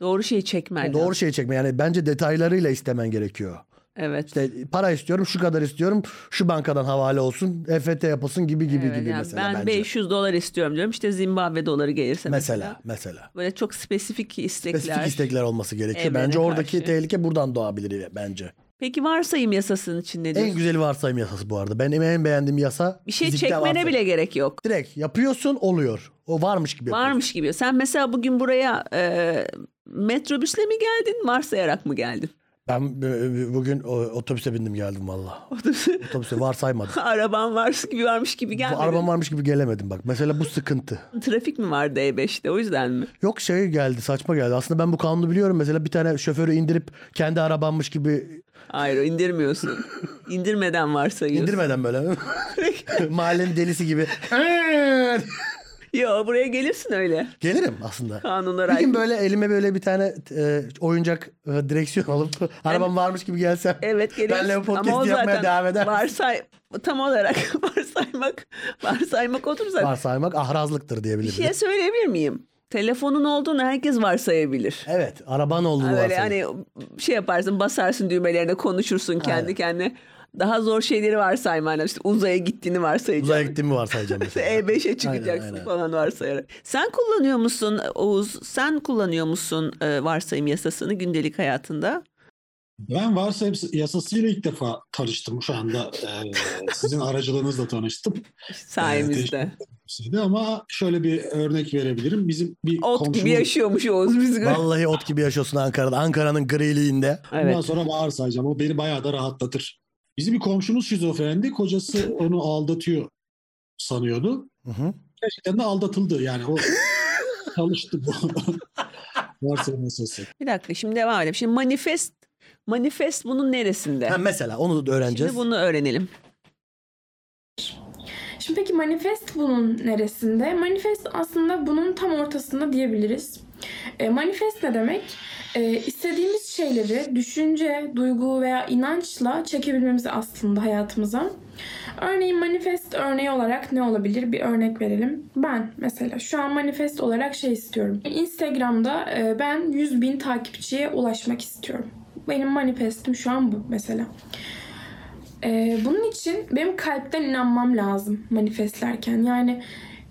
Speaker 2: Doğru şeyi çekmen lazım.
Speaker 1: Doğru şeyi çekme yani bence detaylarıyla istemen gerekiyor.
Speaker 2: Evet.
Speaker 1: İşte para istiyorum, şu kadar istiyorum, şu bankadan havale olsun, EFT yapılsın gibi gibi
Speaker 2: Evet,
Speaker 1: gibi
Speaker 2: yani
Speaker 1: mesela
Speaker 2: ben
Speaker 1: bence.
Speaker 2: 500 dolar istiyorum diyorum. İşte Zimbabwe doları gelirse mesela.
Speaker 1: mesela mesela.
Speaker 2: Böyle çok spesifik istekler.
Speaker 1: Spesifik istekler olması gerekiyor.
Speaker 2: Evrene
Speaker 1: bence oradaki
Speaker 2: karşı.
Speaker 1: tehlike buradan doğabilir bence.
Speaker 2: Peki varsayım yasasının için ne diyorsun?
Speaker 1: En güzeli varsayım yasası bu arada. Benim en beğendiğim yasa
Speaker 2: bir şey
Speaker 1: fizikte
Speaker 2: çekmene
Speaker 1: varsayım.
Speaker 2: bile gerek yok.
Speaker 1: Direkt yapıyorsun oluyor. O varmış gibi yapıyorsun.
Speaker 2: Varmış gibi. Sen mesela bugün buraya e, metrobüsle mi geldin, varsayarak mı geldin?
Speaker 1: Ben e, e, bugün o- otobüse bindim geldim valla. otobüse varsaymadım.
Speaker 2: Araban var gibi varmış gibi
Speaker 1: Bu
Speaker 2: gelmedin.
Speaker 1: arabam varmış gibi gelemedim bak. Mesela bu sıkıntı.
Speaker 2: Trafik mi vardı E5'te o yüzden mi?
Speaker 1: Yok şey geldi saçma geldi. Aslında ben bu kanunu biliyorum. Mesela bir tane şoförü indirip kendi arabanmış gibi
Speaker 2: Hayır indirmiyorsun. İndirmeden varsayıyorsun.
Speaker 1: indirmeden böyle. Mahallenin delisi gibi. "Eee!"
Speaker 2: Yo buraya gelirsin öyle.
Speaker 1: Gelirim aslında.
Speaker 2: Kanunlar
Speaker 1: Bir gün
Speaker 2: aykırı.
Speaker 1: böyle elime böyle bir tane e, oyuncak e, direksiyon alıp arabam varmış gibi gelsem.
Speaker 2: Evet
Speaker 1: Benle
Speaker 2: geliyorsun.
Speaker 1: podcast
Speaker 2: Ama o
Speaker 1: yapmaya
Speaker 2: zaten
Speaker 1: devam eder misin?
Speaker 2: varsay tam olarak varsaymak varsaymak odur zaten.
Speaker 1: Varsaymak ahrazlıktır
Speaker 2: Bir
Speaker 1: diyebilirim.
Speaker 2: şey söyleyebilir miyim? Telefonun olduğunu herkes varsayabilir.
Speaker 1: Evet araban olduğunu
Speaker 2: Öyle
Speaker 1: varsayın.
Speaker 2: hani şey yaparsın basarsın düğmelerine konuşursun kendi
Speaker 1: Aynen.
Speaker 2: kendine. Daha zor şeyleri varsayman lazım. İşte uzaya gittiğini varsayacaksın.
Speaker 1: Uzaya gittiğimi varsayacağım mesela.
Speaker 2: E5'e çıkacaksın
Speaker 1: Aynen, aynen.
Speaker 2: falan varsayarak. Sen kullanıyor musun Oğuz? Sen kullanıyor musun e, varsayım yasasını gündelik hayatında?
Speaker 3: Ben varsayım yasasıyla ilk defa tanıştım şu anda. eee, sizin aracılığınızla tanıştım.
Speaker 2: Sayemizde.
Speaker 3: hepsiydi ama şöyle bir örnek verebilirim. Bizim bir
Speaker 2: Ot gibi
Speaker 3: komşumuz
Speaker 2: yaşıyormuş Oğuz biz.
Speaker 1: Vallahi ot gibi yaşıyorsun Ankara'da. Ankara'nın griliğinde.
Speaker 3: bundan
Speaker 2: Evet.
Speaker 3: sonra bağır sayacağım. O beni bayağı da rahatlatır. Bizim bir komşumuz şizofrendi. Kocası onu aldatıyor sanıyordu.
Speaker 1: Hı hı.
Speaker 3: Gerçekten de aldatıldı. Yani o çalıştı bu. Varsa meselesi.
Speaker 2: Bir dakika şimdi devam edelim. Şimdi manifest manifest bunun neresinde?
Speaker 1: Ha, mesela onu da öğreneceğiz.
Speaker 2: Şimdi bunu öğrenelim.
Speaker 4: Şimdi peki manifest bunun neresinde? Manifest aslında bunun tam ortasında diyebiliriz. E, manifest ne demek? E, istediğimiz şeyleri düşünce, duygu veya inançla çekebilmemiz aslında hayatımıza. Örneğin manifest örneği olarak ne olabilir? Bir örnek verelim. Ben mesela şu an manifest olarak şey istiyorum. Instagram'da e, ben 100 bin takipçiye ulaşmak istiyorum. Benim manifestim şu an bu mesela. Ee, bunun için benim kalpten inanmam lazım manifestlerken. Yani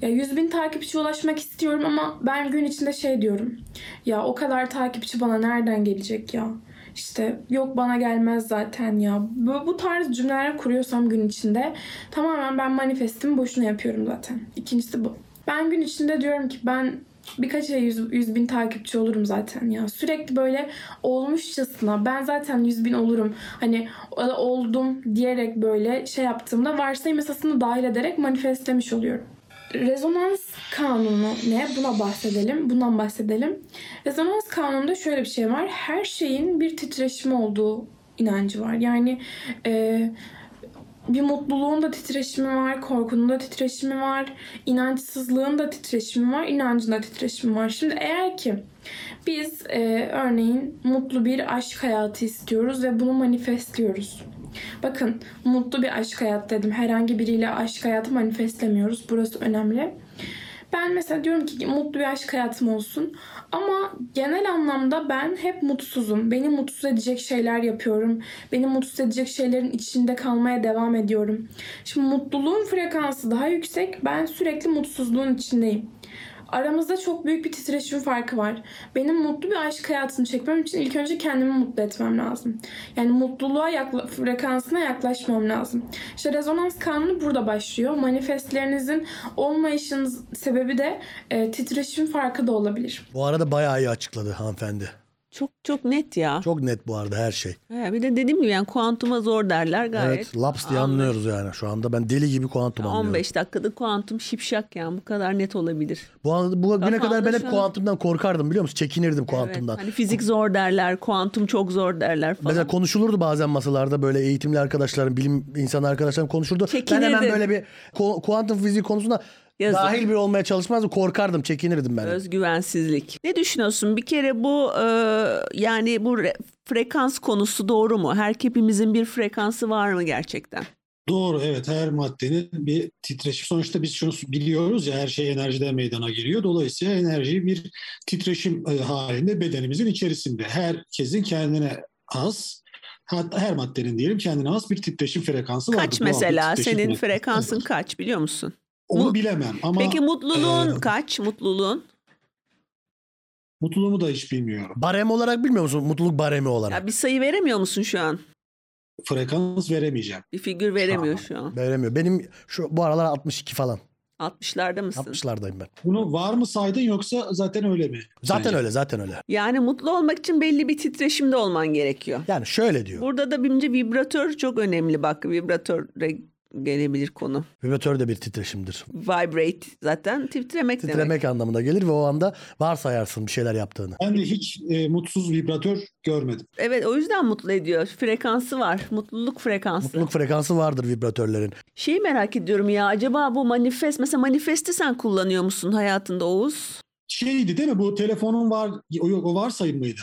Speaker 4: ya 100 bin takipçi ulaşmak istiyorum ama ben gün içinde şey diyorum. Ya o kadar takipçi bana nereden gelecek ya? İşte yok bana gelmez zaten ya. Bu, bu tarz cümleler kuruyorsam gün içinde tamamen ben manifestimi boşuna yapıyorum zaten. İkincisi bu. Ben gün içinde diyorum ki ben birkaç ay 100, bin takipçi olurum zaten ya. Sürekli böyle olmuşçasına ben zaten 100 bin olurum. Hani o- oldum diyerek böyle şey yaptığımda varsayım esasını dahil ederek manifestlemiş oluyorum. Rezonans kanunu ne? Buna bahsedelim. Bundan bahsedelim. Rezonans kanununda şöyle bir şey var. Her şeyin bir titreşimi olduğu inancı var. Yani eee bir mutluluğun da titreşimi var, korkunun da titreşimi var, inançsızlığın da titreşimi var, inancın da titreşimi var. Şimdi eğer ki biz e, örneğin mutlu bir aşk hayatı istiyoruz ve bunu manifestliyoruz. Bakın mutlu bir aşk hayatı dedim. Herhangi biriyle aşk hayatı manifestlemiyoruz. Burası önemli. Ben mesela diyorum ki mutlu bir aşk hayatım olsun ama genel anlamda ben hep mutsuzum. Beni mutsuz edecek şeyler yapıyorum. Beni mutsuz edecek şeylerin içinde kalmaya devam ediyorum. Şimdi mutluluğun frekansı daha yüksek. Ben sürekli mutsuzluğun içindeyim. Aramızda çok büyük bir titreşim farkı var. Benim mutlu bir aşk hayatını çekmem için ilk önce kendimi mutlu etmem lazım. Yani mutluluğa yakla- frekansına yaklaşmam lazım. İşte rezonans kanunu burada başlıyor. Manifestlerinizin olmayışınız sebebi de e, titreşim farkı da olabilir.
Speaker 1: Bu arada bayağı iyi açıkladı hanımefendi.
Speaker 2: Çok çok net ya.
Speaker 1: Çok net bu arada her şey.
Speaker 2: He, bir de dediğim gibi yani kuantuma zor derler gayet.
Speaker 1: Evet laps diye anlıyoruz yani. Şu anda ben deli gibi kuantum anlıyorum.
Speaker 2: 15 dakikada kuantum şipşak yani bu kadar net olabilir.
Speaker 1: Bu, an, bu güne
Speaker 2: Kafamda
Speaker 1: kadar ben
Speaker 2: şu
Speaker 1: hep
Speaker 2: an-
Speaker 1: kuantumdan korkardım biliyor musun? Çekinirdim kuantumdan.
Speaker 2: Evet, hani fizik zor derler, kuantum çok zor derler falan.
Speaker 1: Mesela konuşulurdu bazen masalarda böyle eğitimli arkadaşlarım, bilim insanı arkadaşlarım konuşurdu. Ben hemen
Speaker 2: Çekinirdin.
Speaker 1: böyle bir ko- kuantum fiziği konusunda
Speaker 2: Yazık.
Speaker 1: dahil bir olmaya çalışmazdım. Korkardım, çekinirdim ben.
Speaker 2: Özgüvensizlik. Ne düşünüyorsun? Bir kere bu e, yani bu re- frekans konusu doğru mu? Her hepimizin bir frekansı var mı gerçekten?
Speaker 3: Doğru evet her maddenin bir titreşim. Sonuçta biz şunu biliyoruz ya her şey enerjiden meydana geliyor. Dolayısıyla enerji bir titreşim e, halinde bedenimizin içerisinde. Herkesin kendine az hatta her maddenin diyelim kendine az bir titreşim frekansı var.
Speaker 2: Kaç mesela? Senin frekansın kaç biliyor musun?
Speaker 3: Onu bilemem ama
Speaker 2: Peki mutluluğun
Speaker 3: e,
Speaker 2: kaç? Mutluluğun?
Speaker 3: mutluluğumu da hiç bilmiyorum.
Speaker 1: Barem olarak bilmiyor musun? Mutluluk baremi olarak.
Speaker 2: Ya bir sayı veremiyor musun şu an?
Speaker 3: Frekans veremeyeceğim.
Speaker 2: Bir figür veremiyor şu an.
Speaker 1: Veremiyor. Benim şu bu aralar 62 falan.
Speaker 2: 60'larda mısın?
Speaker 1: 60'lardayım ben.
Speaker 3: Bunu var mı saydın yoksa zaten öyle mi? Hani
Speaker 1: Zaten
Speaker 3: Sence?
Speaker 1: öyle, zaten öyle.
Speaker 2: Yani mutlu olmak için belli bir titreşimde olman gerekiyor.
Speaker 1: Yani şöyle diyor.
Speaker 2: Burada da bence vibratör çok önemli bak. Vibratöre gelebilir konu.
Speaker 1: Vibratör de bir titreşimdir.
Speaker 2: Vibrate zaten titremek,
Speaker 1: Titremek
Speaker 2: demek.
Speaker 1: anlamına gelir ve o anda varsayarsın bir şeyler yaptığını.
Speaker 3: Ben de hiç e, mutsuz vibratör görmedim.
Speaker 2: Evet o yüzden mutlu ediyor. Frekansı var. Mutluluk frekansı.
Speaker 1: Mutluluk frekansı vardır vibratörlerin.
Speaker 2: Şeyi merak ediyorum ya acaba bu manifest mesela manifesti sen kullanıyor musun hayatında Oğuz?
Speaker 3: Şeydi değil mi bu telefonun var o yok o varsayım mıydı?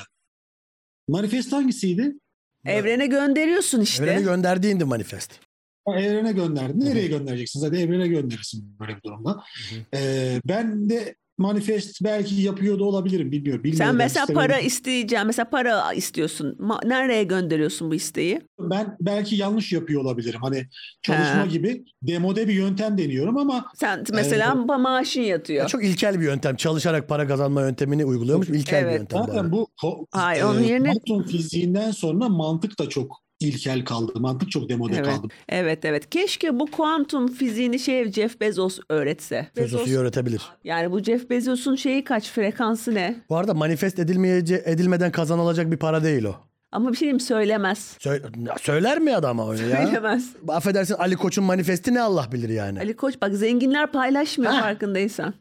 Speaker 3: Manifest hangisiydi?
Speaker 2: Evrene gönderiyorsun işte.
Speaker 1: Evrene gönderdiğindi manifest.
Speaker 3: Ha, Evrene gönderdin. Nereye göndereceksin? Zaten evrene gönderirsin böyle bir durumda. Ee, ben de manifest belki yapıyor da olabilirim. Bilmiyorum. bilmiyorum.
Speaker 2: sen
Speaker 3: Ben
Speaker 2: mesela
Speaker 3: istemiyorum.
Speaker 2: para isteyeceğim. Mesela para istiyorsun. Ma- nereye gönderiyorsun bu isteği?
Speaker 3: Ben belki yanlış yapıyor olabilirim. Hani çalışma
Speaker 2: Ha.
Speaker 3: gibi demode bir yöntem deniyorum ama
Speaker 2: Sen mesela ma- maaşın yatıyor.
Speaker 1: Ya çok ilkel bir yöntem. Çalışarak para kazanma yöntemini uyguluyormuş. İlkel bir
Speaker 2: Evet.
Speaker 1: yöntem. bu
Speaker 3: zaten
Speaker 1: arada.
Speaker 3: bu ko-
Speaker 2: Hayır, onun yerine-
Speaker 3: kuantum fiziğinden sonra mantık da çok ilkel kaldı. Mantık çok demode
Speaker 2: Evet.
Speaker 3: kaldı.
Speaker 2: Evet evet. Keşke bu kuantum fiziğini şey Jeff Bezos öğretse.
Speaker 1: Filozofiyi öğretebilir.
Speaker 2: Yani bu Jeff Bezos'un şeyi kaç frekansı ne?
Speaker 1: Bu arada manifest edilmeyece, edilmeden kazanılacak bir para değil o.
Speaker 2: Ama bir şey diyeyim söylemez.
Speaker 1: Sö- söyler mi adama onu ya?
Speaker 2: Söylemez.
Speaker 1: Affedersin Ali Koç'un manifesti ne Allah bilir yani.
Speaker 2: Ali Koç bak zenginler paylaşmıyor farkındaysan.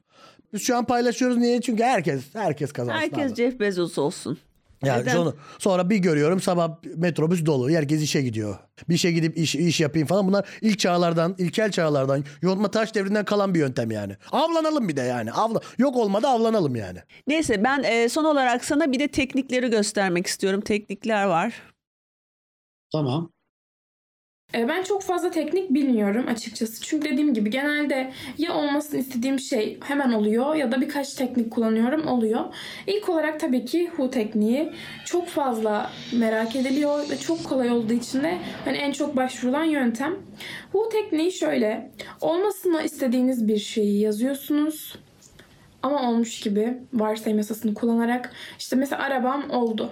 Speaker 1: Biz şu an paylaşıyoruz niye? Çünkü herkes herkes kazansın.
Speaker 2: Herkes
Speaker 1: abi.
Speaker 2: Jeff Bezos olsun.
Speaker 1: Yani
Speaker 2: Neden?
Speaker 1: sonra, sonra bir görüyorum sabah metrobüs dolu. Herkes işe gidiyor. Bir işe gidip iş, iş yapayım falan. Bunlar ilk çağlardan, ilkel çağlardan, yontma taş devrinden kalan bir yöntem yani. Avlanalım bir de yani. Avla, yok olmadı avlanalım yani.
Speaker 2: Neyse ben e, son olarak sana bir de teknikleri göstermek istiyorum. Teknikler var.
Speaker 3: Tamam.
Speaker 4: E, Ben çok fazla teknik bilmiyorum açıkçası. Çünkü dediğim gibi genelde ya olmasını istediğim şey hemen oluyor ya da birkaç teknik kullanıyorum oluyor. İlk olarak tabii ki hu tekniği çok fazla merak ediliyor ve çok kolay olduğu için de hani en çok başvurulan yöntem. Hu tekniği şöyle. Olmasını istediğiniz bir şeyi yazıyorsunuz. Ama olmuş gibi varsayım yasasını kullanarak işte mesela arabam oldu.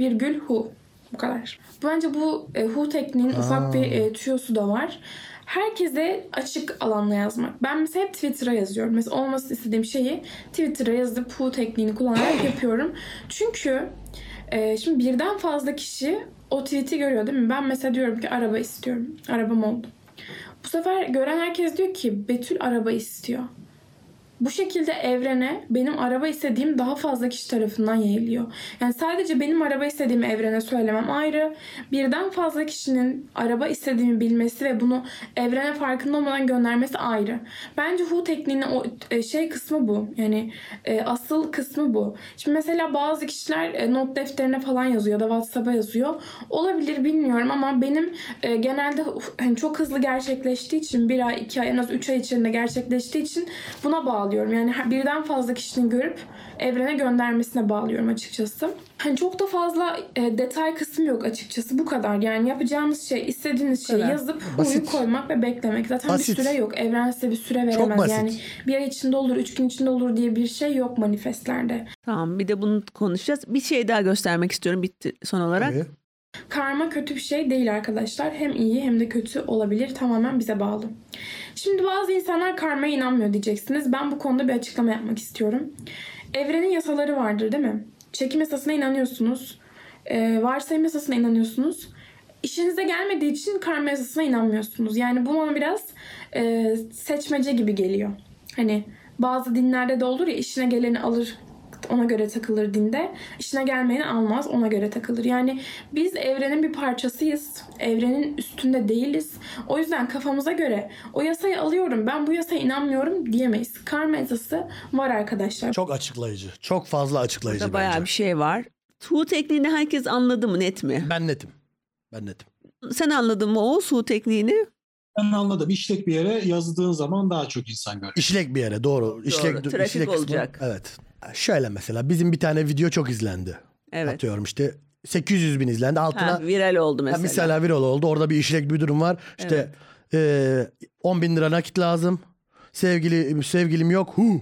Speaker 4: Virgül hu. Bu kadar. Bence bu e, hu tekniğinin ufak bir e, tüyosu da var. Herkese açık alanla yazmak. Ben mesela hep Twitter'a yazıyorum. Mesela olmasını istediğim şeyi Twitter'a yazıp hu tekniğini kullanarak yapıyorum. Çünkü e, şimdi birden fazla kişi o tweet'i görüyor değil mi? Ben mesela diyorum ki araba istiyorum. Arabam oldu. Bu sefer gören herkes diyor ki Betül araba istiyor. Bu şekilde evrene benim araba istediğim daha fazla kişi tarafından yayılıyor. Yani sadece benim araba istediğimi evrene söylemem ayrı. Birden fazla kişinin araba istediğimi bilmesi ve bunu evrene farkında olmadan göndermesi ayrı. Bence Hu tekniğinin o e, şey kısmı bu. Yani e, asıl kısmı bu. Şimdi mesela bazı kişiler e, not defterine falan yazıyor ya da WhatsApp'a yazıyor. Olabilir bilmiyorum ama benim e, genelde uf, hani çok hızlı gerçekleştiği için bir ay, iki ay en az üç ay içerisinde gerçekleştiği için buna bağlıyorum. Yani her- birden fazla kişinin görüp evrene göndermesine bağlıyorum açıkçası. Hani çok da fazla e, detay kısmı yok açıkçası. Bu kadar. Yani yapacağınız şey istediğiniz şeyi
Speaker 2: kadar.
Speaker 4: yazıp huyu
Speaker 1: Basit.
Speaker 4: koymak ve beklemek. Zaten
Speaker 1: Basit.
Speaker 4: bir süre yok. Evren size bir süre veremez.
Speaker 1: basit.
Speaker 4: Yani bir ay içinde olur, üç gün içinde olur diye bir şey yok manifestlerde.
Speaker 2: Tamam bir de bunu konuşacağız. Bir şey daha göstermek istiyorum bitti son olarak.
Speaker 1: Tabii.
Speaker 4: Karma kötü bir şey değil arkadaşlar. Hem iyi hem de kötü olabilir. Tamamen bize bağlı. Şimdi bazı insanlar karmaya inanmıyor diyeceksiniz. Ben bu konuda bir açıklama yapmak istiyorum. Evrenin yasaları vardır değil mi? Çekim yasasına inanıyorsunuz. Ee, varsayım yasasına inanıyorsunuz. İşinize gelmediği için karma yasasına inanmıyorsunuz. Yani bu bana biraz e, seçmece gibi geliyor. Hani bazı dinlerde de olur ya işine geleni alır ona göre takılır dinde. İşine gelmeyeni almaz ona göre takılır. Yani biz evrenin bir parçasıyız. Evrenin üstünde değiliz. O yüzden kafamıza göre o yasayı alıyorum ben bu yasaya inanmıyorum diyemeyiz. Karma yasası var arkadaşlar.
Speaker 1: Çok açıklayıcı. Çok fazla açıklayıcı
Speaker 2: Burada
Speaker 1: bence.
Speaker 2: bayağı bir şey var. Su tekniğini herkes anladı mı net mi?
Speaker 1: Ben netim. Ben netim.
Speaker 2: Sen anladın mı o su tekniğini?
Speaker 3: Ben anladım. İşlek bir yere yazdığın zaman daha çok insan görüyor.
Speaker 1: İşlek bir yere doğru. İşlek,
Speaker 2: Trafik
Speaker 1: işlek kısmı-
Speaker 2: olacak.
Speaker 1: evet. Şöyle mesela bizim bir tane video çok izlendi.
Speaker 2: Evet.
Speaker 1: Atıyorum işte 800 bin izlendi. Altına
Speaker 2: Ha, viral oldu mesela.
Speaker 1: Mesela. Ha, viral oldu. Orada bir işlek bir durum var. İşte eee 10 bin lira nakit lazım. Sevgili sevgilim yok. Hu.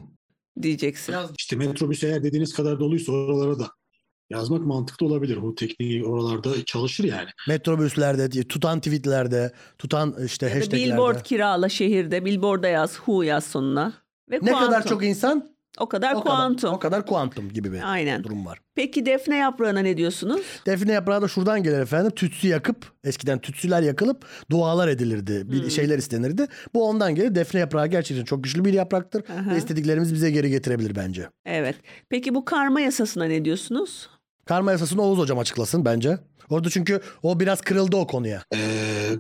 Speaker 2: Diyeceksin.
Speaker 3: Biraz işte metrobüs eğer dediğiniz kadar doluysa oralara da yazmak mantıklı olabilir. Bu tekniği oralarda çalışır yani.
Speaker 1: Metrobüslerde, tutan tweetlerde, tutan işte
Speaker 2: Ya da
Speaker 1: hashtaglerde.
Speaker 2: billboard kirala şehirde. Billboard'a yaz. Hu yaz sonuna. Ve
Speaker 1: Ne kadar
Speaker 2: kuantum.
Speaker 1: çok insan
Speaker 2: O
Speaker 1: o
Speaker 2: kadar
Speaker 1: kadar,
Speaker 2: kuantum.
Speaker 1: o kadar kuantum gibi bir
Speaker 2: Aynen.
Speaker 1: durum var.
Speaker 2: Peki defne yaprağına ne diyorsunuz?
Speaker 1: Defne yaprağı da şuradan gelir efendim. Tütsü yakıp eskiden tütsüler yakılıp dualar edilirdi. Bir şeyler istenirdi. Bu ondan gelir. Defne yaprağı gerçekten çok güçlü bir yapraktır.
Speaker 2: Aha.
Speaker 1: Ve istediklerimiz bize geri getirebilir bence.
Speaker 2: Evet. Peki bu karma yasasına ne diyorsunuz?
Speaker 1: Karma yasasını Oğuz hocam açıklasın bence. Orada çünkü o biraz kırıldı o konuya.
Speaker 3: Ee,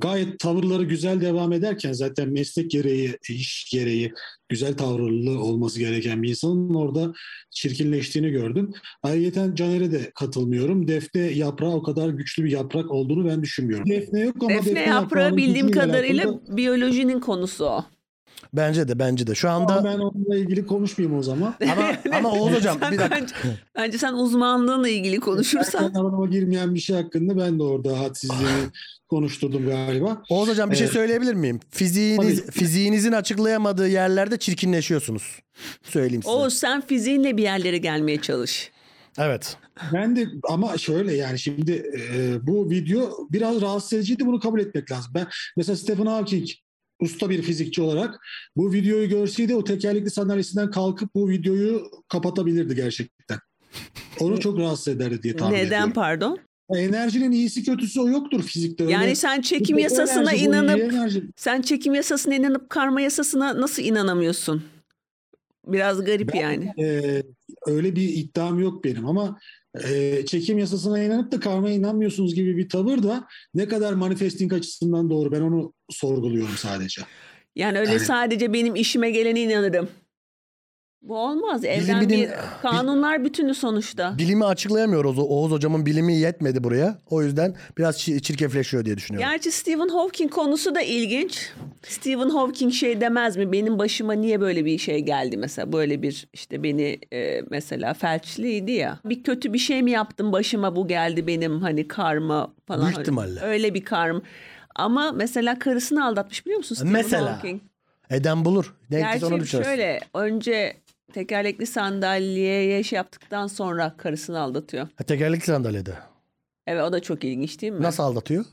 Speaker 3: gayet tavırları güzel devam ederken zaten meslek gereği, iş gereği güzel tavırlı olması gereken bir insanın orada çirkinleştiğini gördüm. Ayrıca Caner'e de katılmıyorum. Defne yaprağı o kadar güçlü bir yaprak olduğunu ben düşünmüyorum. Defne yok ama
Speaker 2: defne yaprağı
Speaker 3: yaprağının
Speaker 2: bildiğim
Speaker 3: gücüyle
Speaker 2: kadarıyla
Speaker 3: alakalı-
Speaker 2: biyolojinin konusu o.
Speaker 1: Bence de bence de. Şu
Speaker 3: Ama
Speaker 1: anda
Speaker 3: ben onunla ilgili konuşmayayım o zaman.
Speaker 1: ama, ama Oğuz hocam bir dakika.
Speaker 2: Bence, bence sen uzmanlığınla ilgili konuşursan.
Speaker 3: Erken arama girmeyen bir şey hakkında ben de orada hadsizliğimi konuşturdum galiba.
Speaker 1: Oğuz hocam bir şey
Speaker 3: Evet.
Speaker 1: söyleyebilir miyim? Fiziğiniz,
Speaker 3: Tabii.
Speaker 1: fiziğinizin açıklayamadığı yerlerde çirkinleşiyorsunuz. Söyleyeyim size.
Speaker 2: Oğuz sen fiziğinle bir yerlere gelmeye çalış.
Speaker 1: Evet.
Speaker 3: Ben de ama şöyle yani şimdi e, bu video biraz rahatsız ediciydi bunu kabul etmek lazım. Ben mesela Stephen Hawking usta bir fizikçi olarak bu videoyu görseydi o tekerlekli sandalyesinden kalkıp bu videoyu kapatabilirdi gerçekten. Onu çok rahatsız ederdi diye tahmin
Speaker 2: Neden
Speaker 3: ediyorum.
Speaker 2: pardon?
Speaker 3: Enerjinin iyisi kötüsü o yoktur fizikte. Öyle
Speaker 2: Yani sen çekim
Speaker 3: Bu
Speaker 2: yasasına
Speaker 3: enerji, bu iyi
Speaker 2: inanıp
Speaker 3: enerji.
Speaker 2: sen çekim yasasına inanıp karma yasasına nasıl inanamıyorsun? Biraz garip yani.
Speaker 3: Ee, öyle bir iddiam yok benim ama e, çekim yasasına inanıp da karmaya inanmıyorsunuz gibi bir tavır da ne kadar manifesting açısından doğru ben onu sorguluyorum sadece.
Speaker 2: Yani öyle
Speaker 3: Yani-
Speaker 2: sadece benim işime gelene inanırım. Bu olmaz. Evren
Speaker 1: bilim-
Speaker 2: bir kanunlar bütünü sonuçta.
Speaker 1: Bilimi açıklayamıyor Oğuz, Oğuz hocamın bilimi yetmedi buraya. O yüzden biraz çi- çirkefleşiyor diye düşünüyorum.
Speaker 2: Gerçi Stephen Hawking konusu da ilginç. Stephen Hawking şey demez mi? Benim başıma niye böyle bir şey geldi mesela? Böyle bir işte beni e, mesela felçliydi ya. Bir kötü bir şey mi yaptım başıma bu geldi benim hani karma falan. Hani
Speaker 1: Büyük ihtimalle.
Speaker 2: Öyle bir karma. Ama mesela karısını aldatmış biliyor musun Stephen
Speaker 1: Mesela.
Speaker 2: Hawking?
Speaker 1: Eden bulur. Denk git ona
Speaker 2: Gerçi
Speaker 1: düşersin.
Speaker 2: şöyle önce tekerlekli sandalyeye şey yaptıktan sonra karısını aldatıyor.
Speaker 1: Ha, tekerlekli sandalyede.
Speaker 2: Evet o da çok ilginç değil mi?
Speaker 1: Nasıl aldatıyor?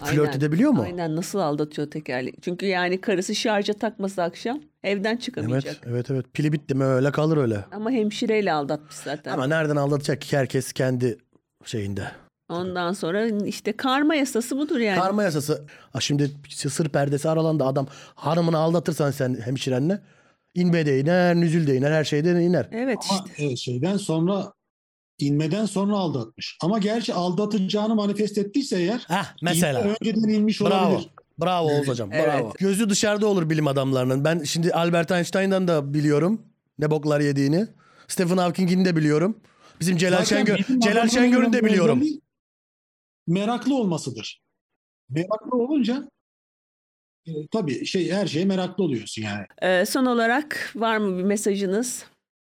Speaker 2: Aynen.
Speaker 1: Flört edebiliyor mu?
Speaker 2: Aynen nasıl aldatıyor tekerlek. Çünkü yani karısı şarja takması akşam evden çıkamayacak.
Speaker 1: Evet, evet, evet. Pili bitti mi öyle kalır öyle.
Speaker 2: Ama hemşireyle aldatmış zaten.
Speaker 1: Ama nereden aldatacak ki herkes kendi şeyinde.
Speaker 2: Ondan sonra işte karma yasası budur yani.
Speaker 1: Karma yasası. Ha, şimdi sır perdesi aralandı adam hanımını aldatırsan sen hemşirenle inme de iner, nüzül de iner, her şeyden iner.
Speaker 2: Evet
Speaker 3: Ama
Speaker 2: işte.
Speaker 3: e, şeyden sonra inmeden sonra aldatmış. Ama gerçi aldatacağını manifest ettiyse eğer
Speaker 1: Hah Ah, mesela.
Speaker 3: inme önceden inmiş
Speaker 1: Bravo.
Speaker 3: olabilir.
Speaker 1: Bravo Oğuz hocam.
Speaker 2: Evet.
Speaker 1: Bravo. Gözü dışarıda olur bilim adamlarının. Ben şimdi Albert Einstein'dan da biliyorum ne boklar yediğini. Stephen Hawking'in de biliyorum. Bizim Celal
Speaker 3: Zaten
Speaker 1: Şengör
Speaker 3: bilim
Speaker 1: Celal
Speaker 3: adamlarının
Speaker 1: Şengör'ün de
Speaker 3: özelliği
Speaker 1: biliyorum.
Speaker 3: Meraklı olmasıdır. Meraklı olunca e, tabii şey her şeye meraklı oluyorsun yani.
Speaker 2: Ee, son olarak var mı bir mesajınız?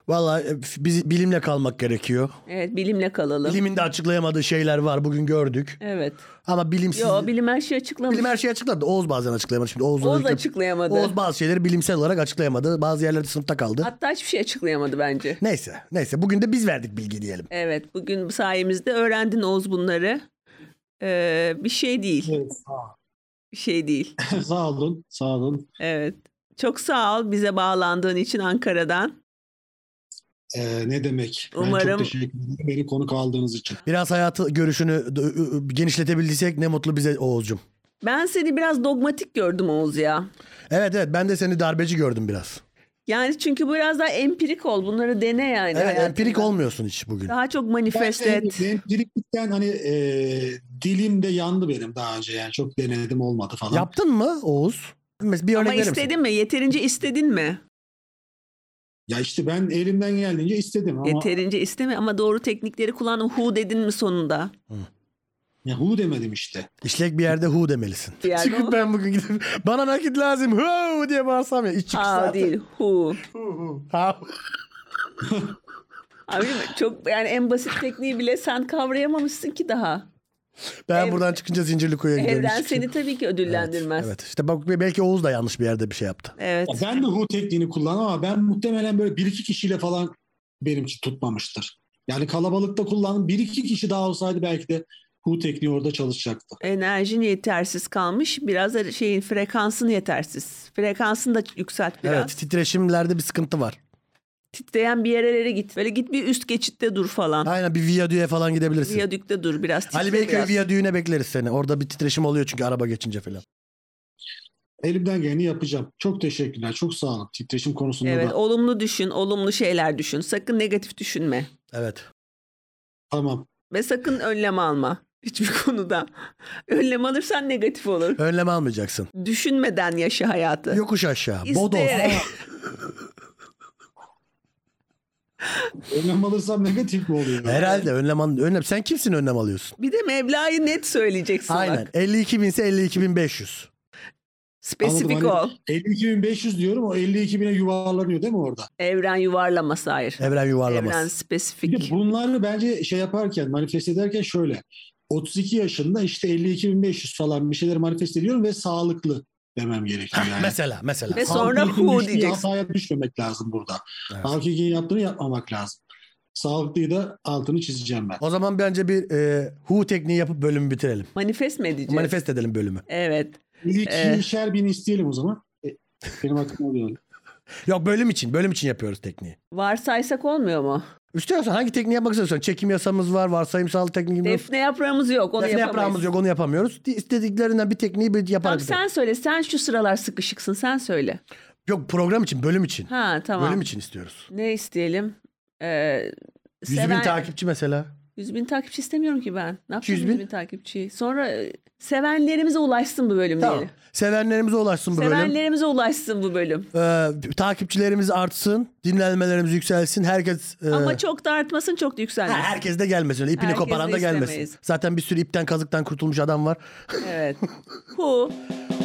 Speaker 1: Vallahi e, f- biz bilimle kalmak gerekiyor.
Speaker 2: Evet bilimle kalalım.
Speaker 1: Bilimin de açıklayamadığı şeyler var bugün gördük.
Speaker 2: Evet.
Speaker 1: Ama bilimsiz
Speaker 2: Yo bilim her şeyi açıklamış.
Speaker 1: bilim her şeyi açıkladı. Oğuz bazen açıklayamadı. Şimdi Oğuz,
Speaker 2: Oğuz açıklayamadı.
Speaker 1: Oğuz bazı şeyleri bilimsel olarak açıklayamadı. Bazı yerlerde sınıfta kaldı.
Speaker 2: Hatta hiçbir şey açıklayamadı bence.
Speaker 1: Neyse, neyse. Bugün de biz verdik bilgi diyelim.
Speaker 2: Evet bugün bu sayemizde öğrendin Oğuz bunları. Ee, bir şey değil.
Speaker 3: Evet, sağ-
Speaker 2: Bir şey değil.
Speaker 3: sağ olun, sağ olun.
Speaker 2: Evet. Çok sağ ol bize bağlandığın için Ankara'dan.
Speaker 3: Ee, ne demek? Ben
Speaker 2: Umarım-
Speaker 3: çok teşekkür ederim beni konuk aldığınız için.
Speaker 1: Biraz hayatı görüşünü d- ü- ü- genişletebildiysek ne mutlu bize Oğuz'cum.
Speaker 2: Ben seni biraz dogmatik gördüm Oğuz ya.
Speaker 1: Evet evet ben de seni darbeci gördüm biraz.
Speaker 2: Yani çünkü biraz daha empirik ol. Bunları dene yani.
Speaker 1: Evet
Speaker 2: hayatında.
Speaker 1: empirik olmuyorsun hiç bugün.
Speaker 2: Daha çok manifest
Speaker 3: Ben-
Speaker 1: şey
Speaker 2: et.
Speaker 3: Benim biriktikten hani e, dilim de yandı benim daha önce yani çok denedim olmadı falan.
Speaker 1: Yaptın mı Oğuz? Mes- Bir örnek
Speaker 2: Ama
Speaker 1: verir misin?
Speaker 2: istedin mi? Yeterince istedin mi?
Speaker 3: Ya işte ben elimden geldiğince istedim ama
Speaker 2: Yeterince isteme ama doğru teknikleri kullandın. Hu dedin mi sonunda?
Speaker 3: ya hu demedim işte.
Speaker 1: İşlek bir yerde hu demelisin.
Speaker 2: Bir yerde
Speaker 1: Çıkıp
Speaker 2: hu.
Speaker 1: ben bugün gidip bana nakit lazım hu diye bağırsam ya. İç çıkış
Speaker 2: Ha
Speaker 1: saati.
Speaker 2: değil. Hu.
Speaker 1: Ha.
Speaker 2: Abi çok yani en basit tekniği bile sen kavrayamamışsın ki daha.
Speaker 1: Ben
Speaker 2: Ev-
Speaker 1: buradan çıkınca zincirli kuyuya gidiyorum.
Speaker 2: Evren
Speaker 1: Hiç çıkış-
Speaker 2: seni tabii ki
Speaker 1: şey- Evet,
Speaker 2: ödüllendirmez.
Speaker 1: Evet, işte bak belki Oğuz da yanlış bir yerde bir şey yaptı.
Speaker 2: Evet.
Speaker 3: Ya ben de hu tekniğini kullanamam ama ben muhtemelen böyle bir iki kişiyle falan benim için tutmamıştır. Yani kalabalıkta kullandım. Bir iki kişi daha olsaydı belki de hu tekniği orada çalışacaktı.
Speaker 2: Enerjin yetersiz kalmış. Biraz da şeyin frekansın yetersiz. Frekansını da yükselt biraz.
Speaker 1: Evet titreşimlerde bir sıkıntı var.
Speaker 2: Titreyen bir yerlere git. Böyle git bir üst geçitte dur falan.
Speaker 1: Aynen bir viyadüğe falan gidebilirsin.
Speaker 2: Viyadükte dur biraz. titre
Speaker 1: Ali Beyköy
Speaker 2: biraz.
Speaker 1: viyadüğüne bekleriz seni. Orada bir titreşim oluyor çünkü araba geçince falan.
Speaker 3: Elimden geleni yapacağım. Çok teşekkürler. Çok sağ olun. Titreşim konusunda
Speaker 2: Evet
Speaker 3: da.
Speaker 2: olumlu düşün, olumlu şeyler düşün. Sakın negatif düşünme.
Speaker 1: Evet.
Speaker 3: Tamam.
Speaker 2: Ve sakın önlem alma hiçbir konuda. Önlem alırsan negatif olur.
Speaker 1: Önlem almayacaksın.
Speaker 2: Düşünmeden yaşa hayatı.
Speaker 1: Yokuş aşağı. Bodoz.
Speaker 2: İsteyerek.
Speaker 3: Önlem alırsam negatif mi oluyor?
Speaker 1: Herhalde önlem al- önlem. Sen kimsin önlem alıyorsun?
Speaker 2: Bir de Mevla'yı net söyleyeceksin
Speaker 1: Aynen.
Speaker 2: bak.
Speaker 1: 52 binse 52.500.
Speaker 2: Spesifik
Speaker 3: Anladım,
Speaker 2: ol.
Speaker 3: hani 52.500 diyorum o 52.000'e yuvarlanıyor değil mi orada?
Speaker 2: Evren yuvarlaması hayır.
Speaker 1: Evren yuvarlamaz.
Speaker 2: Evren
Speaker 3: Bir de
Speaker 2: spesifik.
Speaker 3: bunları bence şey yaparken manifest ederken şöyle 32 yaşında işte 52.500 falan bir şeyler manifest ediyorum ve sağlıklı demem gerekiyor yani.
Speaker 1: Mesela mesela.
Speaker 2: Ve
Speaker 1: Al-
Speaker 2: sonra-
Speaker 3: Sağlıklı
Speaker 2: hu
Speaker 3: bir
Speaker 2: diyeceksin.
Speaker 3: Hataya düşmemek lazım burada.
Speaker 1: Evet.
Speaker 3: Hakiki yaptığını yapmamak lazım. Sağlıklıyı da altını çizeceğim ben.
Speaker 1: O zaman bence bir e, hu tekniği yapıp bölümü bitirelim.
Speaker 2: Manifest mi edeceğiz?
Speaker 1: Manifest edelim bölümü.
Speaker 2: Evet.
Speaker 1: Ee.
Speaker 3: 52'şer bin isteyelim o zaman. E, Benim aklıma oluyor.
Speaker 1: Yok bölüm için. Bölüm için yapıyoruz tekniği.
Speaker 2: Varsaysak olmuyor mu?
Speaker 1: İstiyorsan hangi tekniği yapmak istiyorsan. Çekim yasamız var. Varsayımsal tekniğimiz var.
Speaker 2: Defne yaprağımız yok. Onu
Speaker 1: Defne
Speaker 2: yapamayız.
Speaker 1: yaprağımız yok onu yapamıyoruz. İstediklerinden bir tekniği bir
Speaker 2: Tamam
Speaker 1: yaparak.
Speaker 2: sen söyle. Sen şu sıralar sıkışıksın. Sen söyle.
Speaker 1: Yok program için, bölüm için.
Speaker 2: Ha tamam.
Speaker 1: Bölüm için istiyoruz.
Speaker 2: Ne isteyelim? Ee,
Speaker 1: 100 bin takipçi mesela.
Speaker 2: 100 bin takipçi istemiyorum ki ben. Ne yapayım
Speaker 1: 200
Speaker 2: 100
Speaker 1: bin?
Speaker 2: bin, takipçi? Sonra e, sevenlerimize ulaşsın bu bölüm
Speaker 1: Tamam.
Speaker 2: diyelim.
Speaker 1: Sevenlerimize ulaşsın bu bölüm.
Speaker 2: Sevenlerimize ulaşsın bu bölüm.
Speaker 1: Ee, takipçilerimiz artsın, dinlenmelerimiz yükselsin. Herkes e,
Speaker 2: Ama çok da artmasın çok da
Speaker 1: ha,
Speaker 2: yükselmesin.
Speaker 1: herkes de gelmesin. öyle İpini
Speaker 2: Herkes de
Speaker 1: koparan da gelmesin.
Speaker 2: istemeyiz.
Speaker 1: Zaten bir sürü ipten kazıktan kurtulmuş adam var.
Speaker 2: Evet. Hu.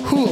Speaker 1: Hu.